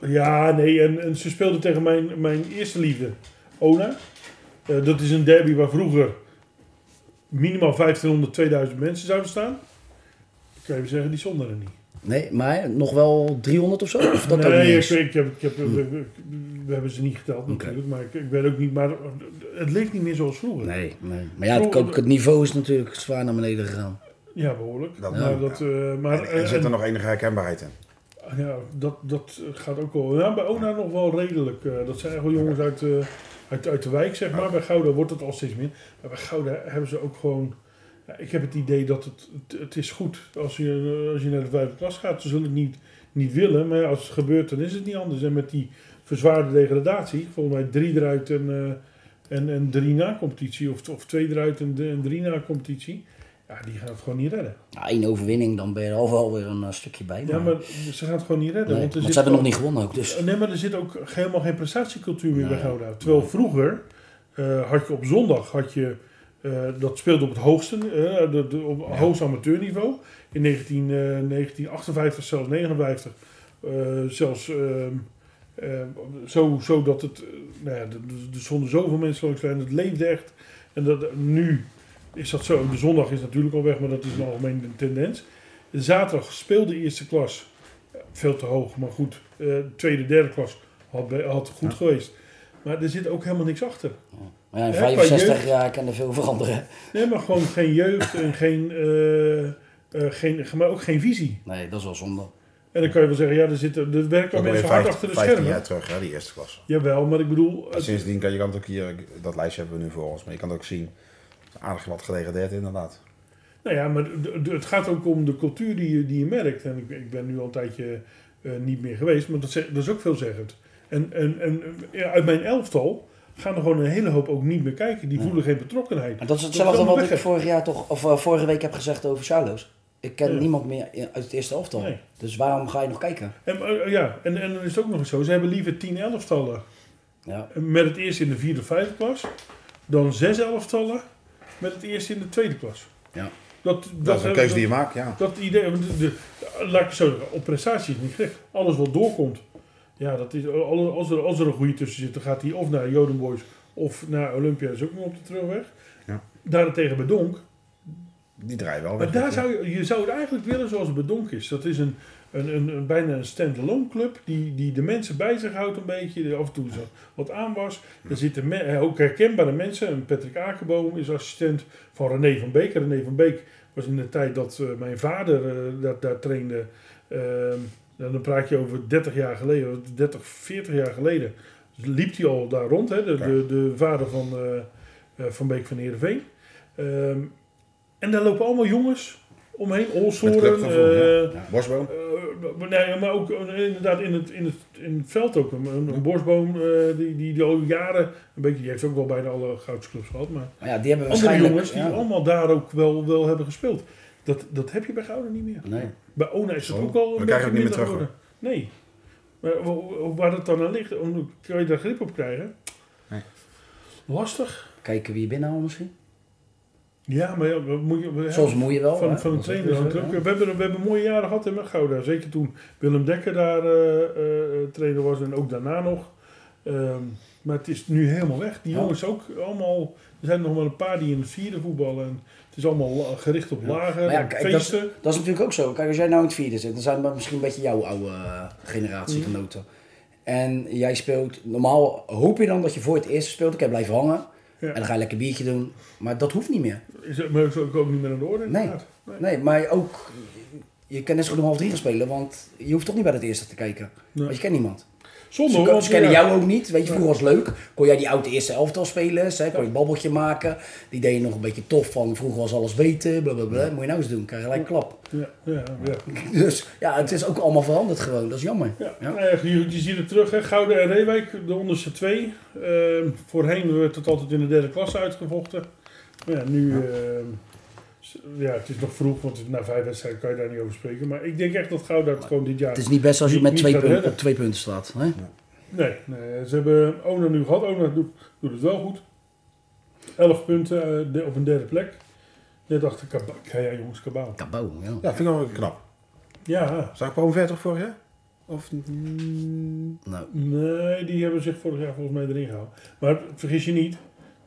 S2: Ja, nee, en, en ze speelde tegen mijn, mijn eerste liefde, Ona. Eh, dat is een derby waar vroeger minimaal 1500, 2000 mensen zouden staan. kan je zeggen, die stonden er niet.
S4: Nee, maar nog wel 300 of zo? Of dat ook
S2: nee,
S4: niet
S2: ik,
S4: eens? Hm.
S2: weet- ik heb, ik heb, we, we- we hebben ze niet geteld natuurlijk, maar ik, ik weet ook niet, maar het leeft niet meer zoals vroeger.
S4: Nee, nee. Maar ja, het, ook het niveau is natuurlijk zwaar naar beneden gegaan.
S2: Ja, behoorlijk.
S3: Dat-
S2: maar
S3: ja.
S2: dat, eh, maar,
S3: En, en
S2: eh,
S3: zit er
S2: en-
S3: nog enige herkenbaarheid in?
S2: ja, dat, dat gaat ook wel. Ja, bij Ona nog wel redelijk. eh, dat zijn eigenlijk wel jongens uit, eh, uit, uit de wijk, zeg maar. Bij Gouda wordt het al steeds meer. Maar bij Gouda hebben ze ook gewoon... ja, ik heb het idee dat het, het, het is goed. Als je, eh, als je naar de vijfde klas gaat, ze zullen het niet, niet willen. Maar ja, als het gebeurt, dan is het niet anders. En met die verzwaarde degradatie, volgens mij drie eruit en, eh, en, en drie na competitie. Of, of twee eruit en, en drie na competitie. Ja, die gaan het gewoon niet redden.
S4: Ja, één overwinning, dan ben je er al wel weer een eh, stukje bij.
S2: Ja, maar ze gaan het gewoon niet redden.
S4: Nee,
S2: want er
S4: want
S2: zit
S4: ze hebben nog
S2: ook-
S4: niet gewonnen ook. Dus.
S2: Eh, Nee, maar er zit ook helemaal geen prestatiecultuur meer bij
S4: Nee.
S2: Gouda. Terwijl vroeger eh, had je op zondag, had je, eh, dat speelde op het hoogste, eh, de, de- op hoogst amateurniveau. In 19, eh, 1958, zelfs 59. eh, zelfs ehm, eh, zo, zo dat het, eh, nou ja, er- er- er stonden zoveel mensen langs de lijn, het leefde echt. En dat, nu is dat zo. De zondag is natuurlijk al weg, maar dat is een algemene tendens. Zaterdag speelde eerste klas veel te hoog, maar goed. Eh, tweede, derde klas had, be- had goed geweest. Maar er zit ook helemaal niks achter.
S4: Maar ja, in
S2: Hè, qua
S4: 65
S2: jeugd-
S4: jaar kan er veel veranderen.
S2: Nee, maar gewoon geen jeugd en geen, eh, eh, geen, maar ook geen visie.
S4: Nee, dat is wel zonde.
S2: En dan kan je wel zeggen, ja, er, zitten, er werken
S3: Dat
S2: al
S3: ben je
S2: mensen hard
S3: 15
S2: achter de
S3: 15
S2: schermen.
S3: jaar terug, hè, die eerste klasse.
S2: Jawel, maar ik bedoel,
S3: En
S2: het-
S3: Sindsdien kan je kan het ook hier, dat lijstje hebben we nu voor ons, maar je kan het ook zien, het is aardig wat gedegradeerd inderdaad.
S2: Nou ja, maar d- d- het gaat ook om de cultuur die je, die je merkt. En ik, ik ben nu al een tijdje eh, niet meer geweest, maar dat, ze- dat is ook veelzeggend. En, en, en eh, ja, uit mijn elftal gaan er gewoon een hele hoop ook niet meer kijken. Die voelen geen betrokkenheid.
S4: Maar dat is
S2: Dat
S4: hetzelfde
S2: kan
S4: wat
S2: weg,
S4: ik
S2: hè?
S4: vorig jaar toch, of eh, vorige week heb gezegd over Charlo's. Ik ken
S2: Ja.
S4: niemand meer in- uit het eerste elftal.
S2: Nee.
S4: Dus waarom ga je nog kijken?
S2: En, eh, ja, en, en dan is het ook nog eens zo. Ze hebben liever tien elftallen
S4: Ja.
S2: met het eerste in de vierde, vijfde klas. Dan zes elftallen met het eerste in de tweede klas.
S4: Ja.
S2: Dat, dat,
S3: Dat is een keuze die je maakt, ja.
S2: Dat idee, want de, de- laat ik het zo zeggen, op prestatie is niet gek. Alles wat doorkomt, ja, dat is, alle- als, er, als er een goede tussen zit, dan gaat hij of naar Jodenboys of naar Olympia, is ook nog op de terugweg.
S3: Ja.
S2: Daarentegen bij Donk.
S3: Die draaien wel
S2: Maar
S3: weg.
S2: daar zou je, je zou het eigenlijk willen zoals het bij Donk is. Dat is een, een, een, een bijna een stand-alone club die, die de mensen bij zich houdt een beetje. Af en toe is er wat aan was. Er zitten me- eh, ook herkenbare mensen. En Patrick Akenboom is assistent van René van Beek. En René van Beek was in de tijd dat eh, mijn vader eh, daar, daar trainde. ehm, en dan praat je over 30 jaar geleden, 30, 40 jaar geleden. Liep hij al daar rond, hè? De, de, de vader van, eh, eh, van Beek van Heerenveen. Ehm, en daar lopen allemaal jongens omheen.
S3: Met
S2: Olsoren,
S3: clubgevoel,
S2: eh,
S3: ja. Ja. Bosboom.
S2: eh, maar- nee, maar ook eh, inderdaad in het, in het, in het veld ook. Een, een borstboom eh, die, die, die al jaren, een beetje, die heeft ook wel bijna alle goudsclubs gehad. Maar
S4: Maar ja, die hebben
S2: andere
S4: waarschijnlijk...
S2: jongens die
S4: ja.
S2: allemaal daar ook wel, wel hebben gespeeld. Dat, dat heb je bij Gouden niet meer.
S4: Nee.
S2: Bij Ona is dat
S3: Oh,
S2: ook al
S3: we
S2: een
S3: krijgen
S2: beetje
S3: het niet
S2: minder
S3: meer
S2: geworden.
S3: terug,
S2: Nee. Maar wa- waar dat dan aan ligt, hoe kan je daar grip op krijgen?
S3: Nee.
S2: Lastig.
S4: Kijken wie je binnenhaalt misschien.
S2: Ja, maar ja, wat moet je... we-
S4: Soms moet je wel. hè?
S2: Van, van een
S4: Dat is
S2: trainer.
S4: ook
S2: hangt
S4: zo,
S2: ook-
S4: hè?
S2: We hebben, we hebben mooie jaren gehad in Gouda. Zeker toen Willem Dekker daar eh, eh, trainer was en ook daarna nog. Ehm, maar het is nu helemaal weg. Die
S4: Ja.
S2: jongens ook allemaal. Er zijn nog maar een paar die in het vierde voetballen. En het is allemaal la- gericht op lager,
S4: Maar ja,
S2: op
S4: kijk, dat is-
S2: Ehm, feesten.
S4: Dat is natuurlijk ook zo. Kijk, als jij nou in het vierde zit, dan zijn dat misschien een beetje jouw oude eh,
S2: Mhm.
S4: generatiegenoten. En jij speelt, normaal hoop je dan dat je voor het eerst speelt. Ik heb blijven hangen.
S2: Ja.
S4: En dan ga je lekker biertje doen. Maar dat hoeft niet meer.
S2: Is, het- maar is ook ook niet meer aan de orde.
S4: Nee.
S2: inderdaad. Nee.
S4: Nee, maar ook, je kan net zo goed om half drie gaan spelen. Want je hoeft toch niet bij het eerste te kijken.
S2: Nee.
S4: Want je kent niemand.
S2: Zonde
S4: Ze,
S2: hoor, want
S4: ze kennen
S2: ja,
S4: jou ook niet. Weet je, vroeger was het leuk. Kon jij die oude eerste elftal spelers, hè? kon je een babbeltje maken. Die deed je nog een beetje tof van vroeger was alles beter. Blablabla. Moet je nou eens doen, krijg je gelijk een klap.
S2: Ja, ja, ja.
S4: Dus ja, het is ook allemaal veranderd gewoon. Dat is jammer.
S2: Ja,
S4: Ja.
S2: nou ja, je, je ziet het terug. Hè. Gouden en Reewijk, de onderste twee. Ehm, voorheen werd het altijd in de derde klasse uitgevochten. Maar ja, nu... ehm, s- ja, het is nog vroeg, want na vijf wedstrijden kan je daar niet over spreken. Maar ik denk echt dat Gouden het gewoon dit jaar...
S4: Het is niet best als je
S2: Niet-
S4: met
S2: niet
S4: twee
S2: gaat
S4: punten-
S2: redden.
S4: op twee punten staat. Hè?
S2: Nee, nee, ze hebben Ona nu gehad. Ona doet, doet het wel goed. Elf punten eh, de- op een derde plek. Net achter Kabaal. Ja, ja, jongens, Kabaal.
S4: Kabouw, ja.
S3: Ja, vind ik wel knap.
S2: Ja,
S3: Zag ik promoveerd toch vorig jaar? Of... mm,
S4: Nou,
S2: nee, die hebben zich vorig jaar volgens mij erin gehouden. Maar vergis je niet,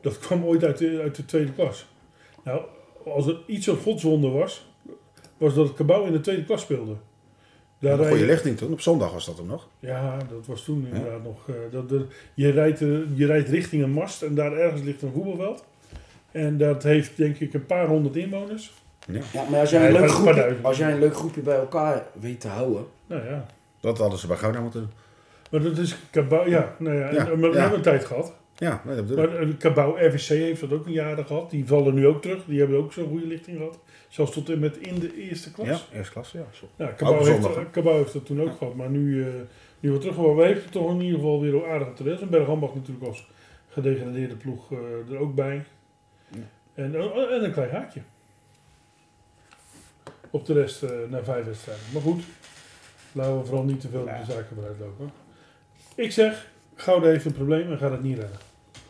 S2: dat kwam ooit uit de, uit de tweede klas. Nou, als er iets een godswonde was, was dat het Cabau in de tweede klas speelde. Daar
S3: Een
S2: rij
S3: goede
S2: je-
S3: lichting toen. Op zondag was dat hem nog.
S2: Ja, dat was toen inderdaad nog. eh, dat, dat- je, rijdt, eh, je rijdt richting een mast en daar ergens ligt een voetbalveld. En dat heeft denk ik een paar honderd inwoners.
S4: Ja, maar als jij,
S2: Nee,
S4: een leuk
S2: maar- maar
S4: groepje,
S2: duizend.
S4: als jij een leuk groepje bij elkaar weet te houden.
S2: Nou ja,
S3: Dat hadden ze bij Gouda moeten doen.
S2: maar dat is Cabau. Ja, nou ja, en-
S3: Ja,
S2: en we
S3: ja.
S2: hebben een tijd gehad.
S3: Ja, nee, dat bedoel ik.
S2: Maar eh, Cabau RVC heeft dat ook een jaren gehad. Die vallen nu ook terug. Die hebben ook zo'n goede lichting gehad. Zelfs tot en met in de eerste klas.
S3: Ja, eerste klasse. Ja, zo.
S2: Nou, Cabau,
S3: Ook
S2: heeft,
S3: zondag, hè?
S2: Cabau heeft dat toen ook gehad, maar nu, eh nu wordt terug. Maar we hebben het toch in ieder geval weer aardig op de rails. En Bergambacht natuurlijk als gedegradeerde ploeg eh, er ook bij. En, oh, en een klein haakje. Op de rest eh na vijf wedstrijden. Maar goed, laten we vooral niet te veel op de zaken eruit lopen. Ik zeg, Gouda heeft een probleem en gaat het niet redden.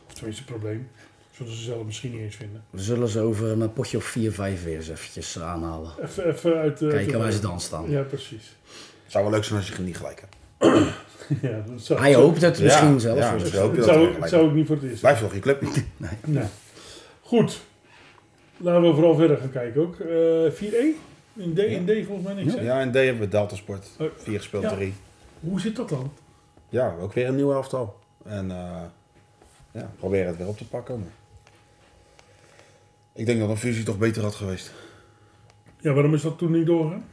S2: Of tenminste, een probleem. Zullen ze zelf misschien niet eens vinden.
S4: We zullen ze over een potje of 4-5 weer eens eventjes aanhalen.
S2: Even, even uit de...
S4: Kijken waar ze dan staan.
S2: Ja, precies.
S3: Het zou wel leuk zijn als je niet gelijk hebt.
S2: Ja, dat zou-
S4: Hij hoopt het misschien
S3: ja,
S4: zelfs.
S3: Ja,
S4: hoor.
S3: dus
S2: Het
S3: hoop je dat je
S2: zou,
S3: gelijk
S2: het
S3: hebt.
S2: zou ook niet voor het eerst.
S3: Blijf toch je club niet.
S2: Nee. Goed. Laten we vooral verder gaan kijken ook. Eh 4-1? In D, in D volgens mij niks. hè?
S3: Ja, en D hebben we Delta Sport.
S2: Oh.
S3: Vier gespeeld,
S2: Ja.
S3: drie.
S2: Hoe zit dat dan?
S3: Ja, ook weer een nieuw elftal. En eh, ja, proberen het weer op te pakken. maar- Ik denk dat een fusie toch beter had geweest.
S2: Ja, waarom is dat toen niet doorgegaan?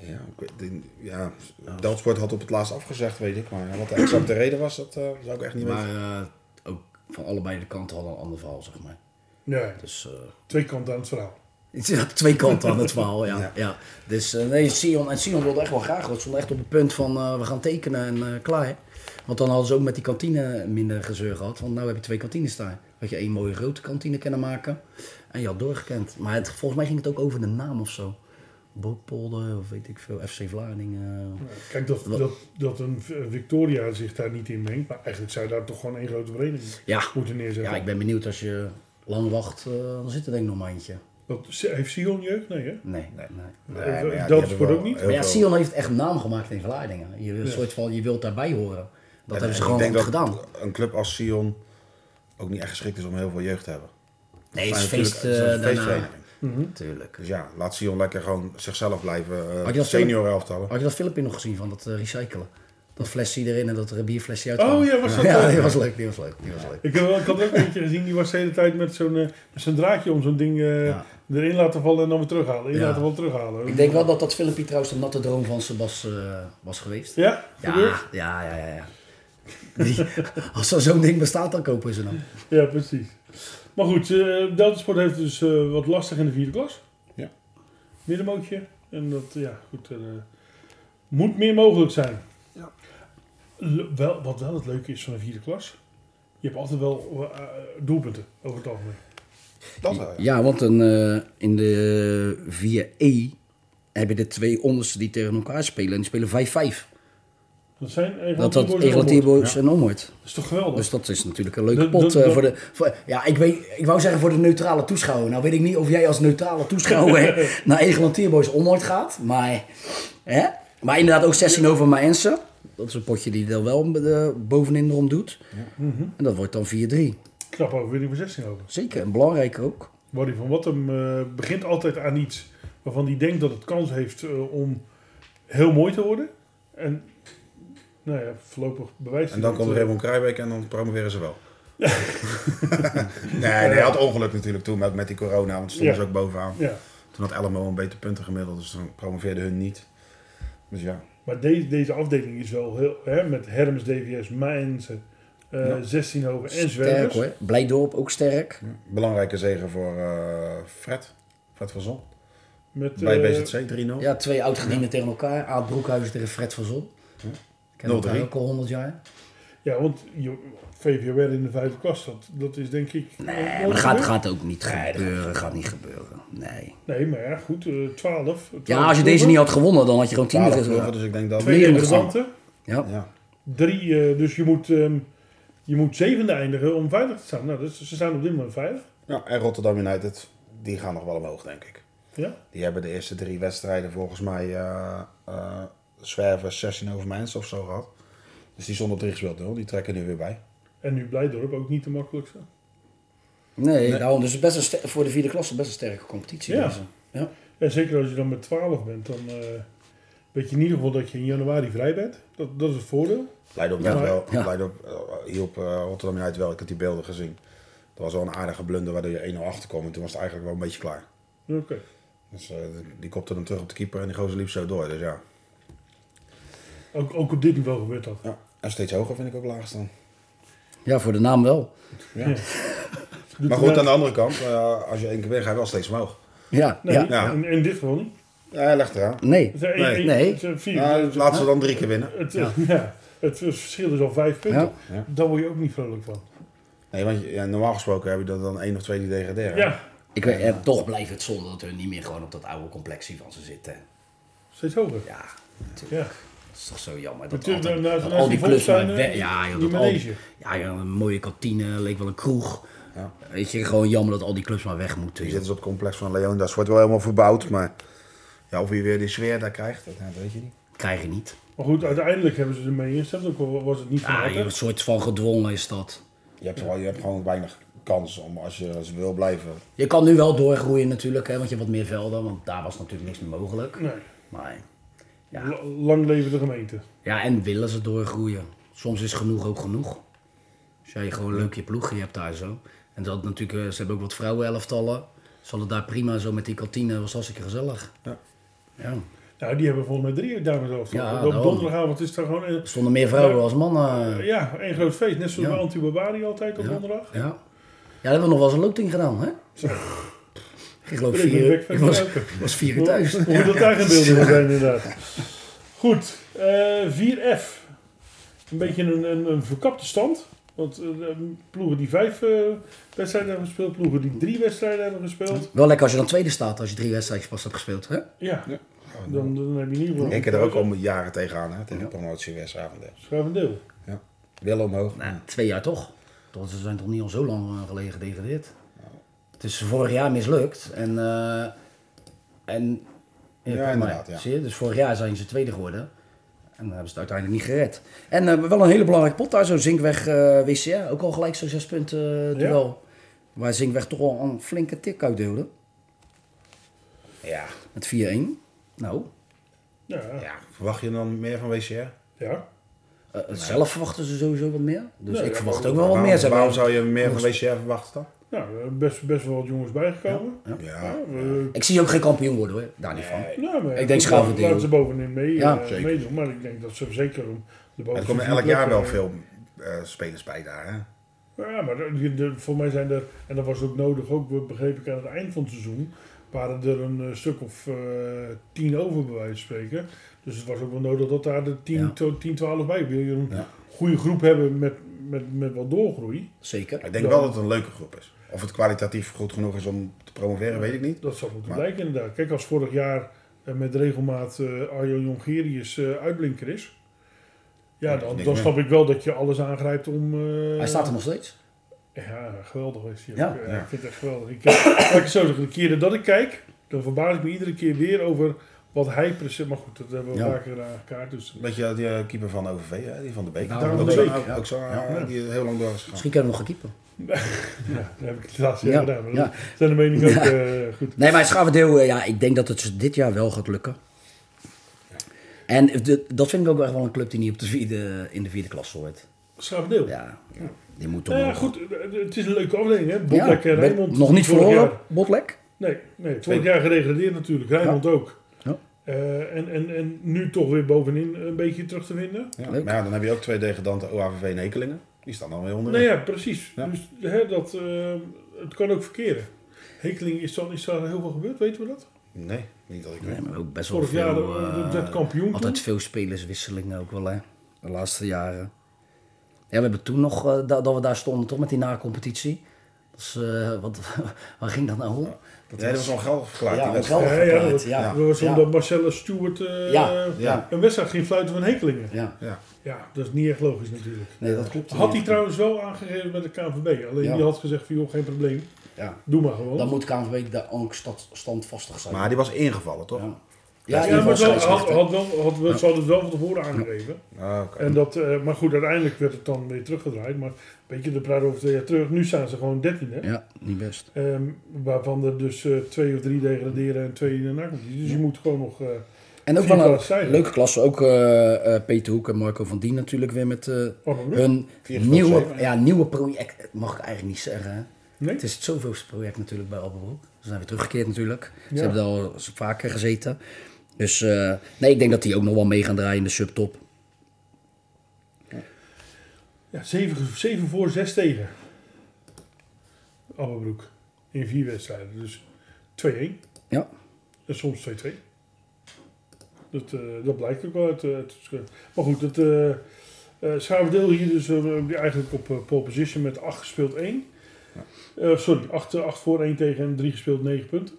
S3: Ja, ik weet- die- ja Deltsport had op het laatst afgezegd, weet ik. Maar wat de exacte reden was, dat eh, zou ik echt niet
S4: Maar
S3: weten.
S4: eh, ook van allebei de kanten hadden een ander verhaal, zeg maar.
S2: Nee,
S4: Dus eh,
S2: twee kanten aan het verhaal.
S4: het zit aan twee kanten aan het verhaal, ja.
S3: Ja.
S4: ja. Dus eh, nee, Sion, en Sion wilde echt wel graag. Dat stond echt op het punt van eh, we gaan tekenen en eh, klaar. Want dan hadden ze ook met die kantine minder gezeur gehad. Want nu heb je twee kantines daar. Had je één mooie grote kantine kunnen maken. En je had doorgekend. Maar het, volgens mij ging het ook over de naam of zo. Bootpolder of weet ik veel. FC Vlaardingen.
S2: Kijk, dat, dat, dat een eh, Victoria zich daar niet in mengt. Maar eigenlijk zou daar toch gewoon één grote vereniging
S4: Ja.
S2: moeten neerzetten.
S4: Ja, ik ben benieuwd als je lang wacht. eh, dan zit er denk ik nog een maandje.
S2: dat, heeft Sion jeugd? Nee, hè?
S4: Nee. nee.
S3: Nee, maar ja, die
S2: eh, Delta
S3: hebben
S2: Sport
S3: wel
S2: ook niet?
S3: heel
S4: Maar ja,
S3: veel-
S4: Sion heeft echt naam gemaakt in Vlaardingen. Je, wilt- soort van, je wilt daarbij horen. Dat hebben ze gewoon altijd gedaan.
S3: Een club als Sion ook niet echt geschikt is om heel veel jeugd te hebben.
S4: Nee, het is
S3: Maar
S4: feest eh,
S3: natuurlijk, het is een
S4: daarna.
S3: feestvereniging.
S4: Tuurlijk.
S3: Dus ja, laat Sion lekker gewoon zichzelf blijven.
S4: Had
S3: eh
S4: je dat
S3: senior elftallen.
S4: Had je dat filmpje nog gezien van dat eh, recyclen? Dat flesje erin en dat er een bierflesje uit kwam.
S2: Oh ja, was dat
S4: Ja,
S2: eh,
S4: die was leuk, die was leuk, die was leuk.
S2: Ik, heb wel, ik had ook eentje gezien, die was de hele tijd met zo'n eh, met zo'n draadje om zo'n ding eh,
S4: Ja.
S2: erin laten vallen en dan weer terughalen. In
S4: Ja.
S2: laten vallen, terughalen.
S4: Ik denk wel dat dat filmpje trouwens de natte droom van Sebas eh, was geweest.
S2: Ja? Gebeurd?
S4: Ja, ja, ja, ja. ja. Die- als er zo'n ding bestaat, dan kopen ze hem.
S2: Ja, precies. Maar goed, eh Deltasport heeft dus eh, wat lastig in de vierde klas.
S3: Ja.
S2: Middenmootje. En dat, ja, goed. eh, moet meer mogelijk zijn.
S3: Ja.
S2: Le- wel, wat wel het leuke is van de vierde klas. Je hebt altijd wel eh, doelpunten over het algemeen.
S3: Dat wel, ja.
S4: Ja, want een, eh, in de 4E hebben de twee onderste die tegen elkaar spelen. En die spelen 5-5.
S2: Dat zijn
S4: Dat
S2: eigenlijk
S4: had Egelatieboys en Omhoort.
S2: Dat is toch geweldig?
S4: Dus dat is natuurlijk een leuke
S2: Dat-
S4: pot
S2: dat-
S4: eh,
S2: dat-
S4: voor de... Voor, ja, ik, weet, ik wou zeggen voor de neutrale toeschouwer. Nou weet ik niet of jij als neutrale toeschouwer naar Egelantierboys Omhoort gaat. Maar, hè? maar inderdaad ook 16 over Maense. Dat is een potje die dan wel eh, bovenin erom doet.
S2: Mhm.
S4: En dat wordt dan 4-3.
S2: Knap overwinning voor 16 over.
S4: Zeker, en belangrijk ook.
S2: Wadi van Wattem eh, begint altijd aan iets waarvan hij denkt dat het kans heeft eh, om heel mooi te worden. En nou ja, voorlopig bewijst
S3: En
S2: hij
S3: dan
S2: dat,
S3: komt
S2: eh,
S3: Raymond Kruijbeek en dan promoveren ze wel. nee, nee, hij had ongeluk natuurlijk toen met, met die corona, want stonden
S2: Ja.
S3: ze ook bovenaan.
S2: Ja,
S3: Toen had Elmo een beter punten gemiddeld, dus dan promoveerde hun niet. Dus ja,
S2: maar de- deze afdeling is wel heel... Hè, met Hermes, DVS, Mainzen, eh
S3: Ja.
S2: 16 hoger en
S4: Sterk
S2: Zwervers.
S4: hoor. Blijdorp ook sterk.
S3: belangrijke zege voor eh, Fred. Fred van Zon.
S2: Met,
S3: Bij
S2: eh,
S3: BZC 3-0.
S4: Ja, twee oud-gedienden tegen elkaar. Aad Broekhuizen tegen Fred van Zon. Ik ken
S3: 0-3.
S4: elkaar ook al 100 jaar.
S2: Ja, want je, VVOR in de vijfde klas, dat, dat is denk ik... eh,
S4: Nee, maar dat gaat, gaat ook niet gebeuren. Gaat niet gebeuren. Nee.
S2: Nee, maar ja, goed, eh 12.
S4: Ja, als je deze niet had gewonnen, dan had je gewoon 10
S3: 12 ploegen,
S4: gezet.
S3: dus ik denk dat...
S2: Twee
S4: meer moet
S2: interessante,
S4: Ja.
S3: Ja.
S2: drie... eh, dus je moet, ehm, je moet zevende eindigen om veilig te staan. Nou, dus ze staan op dit moment veilig.
S3: ja, en Rotterdam United, die gaan nog wel omhoog, denk ik.
S2: Ja.
S3: Die hebben de eerste drie wedstrijden volgens mij eh eh zwerven 16 over mensen of zo gehad. Dus die zonder drie gespeeld nul, die trekken nu weer bij.
S2: En nu Blijdorp ook niet de makkelijkste.
S4: Nee, daarom. Dus best een ster- voor de vierde klasse best een sterke competitie.
S2: Ja.
S4: deze. ja.
S2: En zeker als je dan met 12 bent, dan eh, weet je in ieder geval dat je in januari vrij bent. Dat, dat is het voordeel.
S3: Leidop,
S2: Ja.
S3: net wel,
S4: Ja.
S3: Leidop eh, hielp eh, Rotterdam United wel. Ik had die beelden gezien. Dat was wel een aardige blunder waardoor je 1-0 achterkwam. En toen was het eigenlijk wel een beetje klaar.
S2: Oké.
S3: Dus eh, die kopte hem terug op de keeper en die gozer liep zo door. Dus ja.
S2: Ook, ook op dit niveau gebeurt dat.
S3: ja. En steeds hoger vind ik ook laag staan.
S4: Ja, voor de naam wel.
S3: Ja.
S2: Doet
S3: Maar goed,
S2: er-
S3: aan de andere kant, eh, als je één keer weg, hij wel steeds omhoog.
S4: Ja,
S2: Nee,
S4: ja.
S3: Ja.
S2: In, in dit geval niet.
S3: Ja, hij legt eraan.
S4: Nee.
S2: Het zijn één-
S3: Nee.
S2: één-
S4: Nee.
S2: het zijn vier.
S3: Nou,
S2: Het-
S3: laten ze dan drie keer winnen.
S2: het, ja. het verschil is al vijf punten.
S3: Ja.
S2: Daar word je ook niet vrolijk van.
S3: Nee, want je- ja, normaal gesproken heb je er dan één of twee die degraderen.
S2: Ja,
S4: Ik weet, en toch blijft het zonde dat hun niet meer gewoon op dat oude complexie van ze zitten.
S2: steeds hoger.
S4: Ja, natuurlijk.
S2: Ja.
S4: Dat is toch zo jammer. Dat,
S2: Natuurlijk,
S4: altijd-
S2: nou,
S4: dat
S2: nou,
S4: al
S2: die
S4: die klussen maar
S2: volkstuinen,
S4: weg- Ja, joh,
S2: die
S4: dat al die-
S2: manege.
S4: ja, ja, een mooie kantine, leek wel een kroeg.
S3: Ja.
S4: Weet je, gewoon jammer dat al die clubs maar weg moeten.
S3: Je
S4: joh.
S3: zit dus op het complex van Leon, dat wordt wel helemaal verbouwd. Maar ja, of je weer die sfeer daar krijgt, dat, dat weet je niet.
S4: Krijg je niet.
S2: Maar goed, uiteindelijk hebben ze ermee ingestemd. Ook al was het niet van
S4: Ja,
S2: harte.
S4: joh, een soort van gedwongen is dat.
S3: Je hebt, gewoon, je hebt gewoon weinig kans om, als je, als je wil blijven.
S4: Je kan nu wel doorgroeien natuurlijk, hè, want je hebt wat meer velden, want daar was natuurlijk niks meer mogelijk.
S2: Nee.
S4: Maar ja.
S2: La- Lang leven de gemeente.
S4: ja, en willen ze doorgroeien. Soms is genoeg ook genoeg. Als jij gewoon leuk je ploegje hebt daar zo. En dat natuurlijk, eh, ze hebben ook wat vrouwenelftallen. Zal het daar prima zo met die kantine, was hartstikke gezellig.
S3: Ja.
S4: Ja.
S2: Nou, die hebben volgens mij drie dames zelf.
S4: Ja,
S2: Op
S4: daarom.
S2: donderdagavond is daar gewoon een,
S4: Er stonden meer vrouwen
S2: Maar-
S4: als mannen.
S2: ja, een groot feest. Net zoals
S4: Ja.
S2: bij Anti-Barbari altijd op
S4: Ja.
S2: donderdag.
S4: Ja. Ja, dat hebben we nog wel eens een loting gedaan, hè? Ik geloof
S2: Ik ben
S4: vier
S2: weg
S4: uur.
S2: van
S4: Ik was,
S2: Kuiper.
S4: ik was vier uur thuis.
S2: Hoe hoe dat daar in beelden zijn, inderdaad. Goed, eh, 4F. Een beetje een, een, een verkapte stand. Want eh, de ploegen die vijf eh, wedstrijden hebben gespeeld, ploegen die drie wedstrijden hebben gespeeld.
S4: Wel lekker als je dan tweede staat, als je drie wedstrijdjes pas hebt gespeeld, hè?
S2: Ja, dan, dan heb je in ieder geval.
S3: Ik heb er ook al jaren tegenaan, hè, tegen
S4: Ja.
S3: de promotie Westhavend.
S2: Schuivendeel.
S3: Wel omhoog.
S4: Nou, twee jaar toch. Toch, Ze zijn toch niet al zo lang eh, geleden gedegradeerd. Het is vorig jaar mislukt. En, eh, en,
S3: Ja,
S4: kijk maar.
S3: inderdaad, ja.
S4: Zie je? Dus vorig jaar zijn ze tweede geworden. En dan hebben ze het uiteindelijk niet gered. En eh, wel een hele belangrijke pot daar. Zo Zinkweg eh WCR. Ook al gelijk zo'n zes punten eh,
S2: Ja.
S4: duel. Waar Zinkweg toch al een flinke tik uitdeelde.
S3: Ja.
S4: Met 4-1. Nou,
S2: Ja, ja.
S3: ja. Verwacht je dan meer van WCR?
S4: eh, zelf verwachten ze sowieso wat meer. Dus
S2: Nee,
S4: ik
S2: ja,
S4: verwacht ook wel wat
S3: Waarom,
S4: meer. Ze hebben-
S3: waarom zou je meer van WCR verwachten dan?
S2: Nou, er zijn best, best wel wat jongens bijgekomen.
S4: Ja.
S3: Ja.
S2: Ja, we-
S4: Ik zie ze ook geen kampioen worden hoor. Daar niet van.
S2: nou, maar
S4: Ik denk Schuivendeel.
S2: Laten ze bovenin mee,
S4: Ja,
S2: eh,
S3: zeker.
S2: meedoen. Maar ik denk dat ze zeker om de
S3: Er
S2: bovenste
S3: komen
S2: vier
S3: elk jaar wel
S2: plekken-
S3: veel eh, spelers bij daar. Hè?
S2: Nou Ja, maar de- de- voor mij zijn er, en dat was ook nodig, ook begreep ik aan het eind van het seizoen, waren er een eh, stuk of eh, tien over, bij wijze van spreken. Dus het was ook wel nodig dat daar de 10,
S4: Ja.
S2: to- 10 12 bij. Wil je een
S3: Ja.
S2: goede groep hebben met, met, met wat doorgroei?
S4: Zeker.
S3: Ik denk wel dat het een leuke groep is. Of het kwalitatief goed genoeg is om te promoveren, weet ik niet.
S2: Dat zou moeten
S3: Maar-
S2: blijken, inderdaad. Kijk, als vorig jaar eh, met regelmaat eh Arjo Jongerius eh, uitblinker is. Ja,
S3: dat is
S2: dan,
S3: niks
S2: dan
S3: meer.
S2: snap ik wel dat je alles aangrijpt om. eh,
S4: Hij staat er nog steeds.
S2: Ja, geweldig is hij
S4: Ja.
S2: ook. Eh,
S3: Ja.
S2: Ik vind het echt geweldig. Ik, eh, laat ik zo zeggen, de keren dat ik kijk, dan verbaas ik me iedere keer weer over wat hij precies... Maar goed, dat hebben we
S4: Ja.
S2: vaker aan elkaar. Dus
S3: Weet je, die eh, keeper van OVV, hè? die van de Beek.
S4: Nou,
S3: Daar
S2: Van
S3: ook
S2: de
S3: zo,
S2: Beek,
S4: ja.
S3: ook zo eh,
S4: Ja.
S3: die heel lang door is gegaan.
S4: Misschien kunnen we nog gaan keeper.
S2: ja, daar heb ik het laatste
S4: Ja,
S2: jaar gedaan. Maar
S4: ja.
S2: dat zijn de meningen ook
S4: Ja.
S2: eh, goed.
S4: Nee, maar Schavendeel, eh, ja, ik denk dat het ze dit jaar wel gaat lukken. En de- dat vind ik ook echt wel een club die niet op de vierde, in de vierde klas hoort.
S2: Schavendeel. Ja,
S4: Ja, die moet toch
S2: nou ja,
S4: nog-
S2: Eh, goed. eh, Het is een leuke afdeling, hè?
S4: Ja,
S2: Botlek en
S4: ben-
S2: Rijnmond.
S4: Nog niet
S2: vorig
S4: verloren,
S2: jaar-
S4: Botlek.
S2: Nee, nee, vorig jaar geregradeerd natuurlijk. Rijnmond ook.
S4: Ja.
S2: Eh, en, en, en nu toch weer bovenin een beetje terug te vinden.
S3: Ja.
S4: Leuk.
S3: Maar ja, dan heb je ook twee degradanten OAVV en Hekelingen. Die staan dan weer onderin.
S2: Nou ja, precies.
S3: Ja.
S2: Dus hè, dat, eh, het kan ook verkeren. Hekeling is dan is daar heel veel gebeurd, weten we dat?
S3: Nee, niet dat ik weet.
S4: Nee, maar ook best wel
S2: Vorig jaar
S4: veel...
S2: de-
S4: eh,
S2: dat kampioen.
S4: altijd veel spelerswisselingen ook wel, hè. De laatste jaren. Ja, we hebben toen nog, eh, da- dat we daar stonden, toch, met die na-competitie. Dat is, eh, wat, waar ging dat nou om?
S3: Dat nee, dat was wel geldig verklaard.
S4: Ja,
S3: die
S4: dat
S3: wedstrijd.
S4: wel.
S2: Ja, ja, dat-
S4: ja.
S2: We was
S4: Ja.
S2: omdat Marcella Stewart eh,
S4: Ja,
S3: ja.
S2: een wedstrijd ging fluiten van Hekelingen.
S4: Ja,
S3: Ja.
S2: Ja, dat is niet echt logisch natuurlijk.
S4: nee, dat klopt.
S2: Had hij trouwens wel aangegeven met de KNVB. Alleen
S4: Ja.
S2: die had gezegd van joh, geen probleem.
S4: Ja.
S2: Doe maar gewoon.
S4: Dan moet KNVB daar ook stand- standvastig zijn.
S3: Maar die was ingevallen, toch?
S4: Ja. Ja,
S2: Ja,
S4: in
S2: maar
S4: ieder
S2: ze
S4: geval
S2: had, had,
S4: scheidsrechter.
S2: had wel, had, wel- ze hadden het wel van tevoren aangegeven.
S3: Ah, oké.
S2: En dat, eh, maar goed, uiteindelijk werd het dan weer teruggedraaid. Maar weet je, de praat over twee jaar terug. Nu staan ze gewoon 13, hè?
S4: Ja, niet best.
S2: Ehm, waarvan er dus eh, twee of drie degraderen en twee in de nacht. Dus je moet gewoon nog. eh,
S4: En ook
S2: Vier
S4: wel een
S2: klassen.
S4: leuke klasse. Ook eh, eh, Peter Hoek en Marco van Dien natuurlijk weer met eh,
S2: wat een broek.
S4: hun
S3: Vier tot
S4: nieuwe,
S3: zeven, hè?
S4: ja, nieuwe project. Dat mag ik eigenlijk niet zeggen. hè.
S2: Nee?
S4: Het is het zoveelste project natuurlijk bij Alberbroek. Ze zijn weer teruggekeerd natuurlijk. Ze
S2: Ja.
S4: hebben er al eens vaker gezeten. Dus eh, nee, ik denk dat die ook nog wel mee gaan draaien in de subtop.
S2: Ja, zeven, zeven voor, zes tegen. Abberbroek. In vier wedstrijden. Dus 2-1.
S4: Ja.
S2: En soms 2-2. Dat, eh, dat blijkt ook wel uit. eh, uit het scherm. maar goed, dat, eh eh, Schaverdeel hier dus eh, eigenlijk op eh, pole position met 8 gespeeld 1. Eh, sorry, 8, voor 1 tegen en 3 gespeeld 9 punten.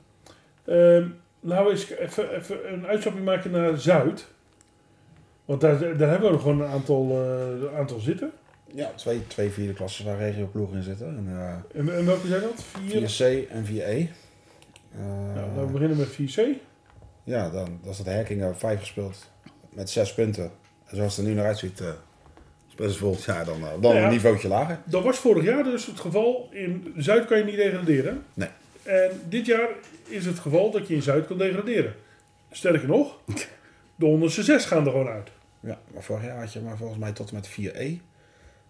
S2: Ehm nou eens even, even een uitstapje maken naar Zuid. Want daar, daar hebben we nog gewoon een aantal, eh, aantal zitten.
S3: Ja, twee, twee vierde klassen waar regioploegen in zitten. En, eh,
S2: En, en welke zijn dat? Vier?
S3: 4C en 4E. Eh,
S2: Nou, laten we beginnen met 4C.
S3: ja, dan, dan staat Herkingen 5 eh, gespeeld met 6 punten. En zoals het er nu naar uitziet, eh is best volgend jaar dan, eh, dan
S2: Ja.
S3: een niveautje lager.
S2: Dat was vorig jaar dus het geval. In Zuid kan je niet degraderen.
S3: Nee.
S2: En dit jaar is het geval dat je in Zuid kan degraderen. Sterker nog, de onderste zes gaan er gewoon uit.
S3: Ja, maar vorig jaar had je maar volgens mij tot en met 4E.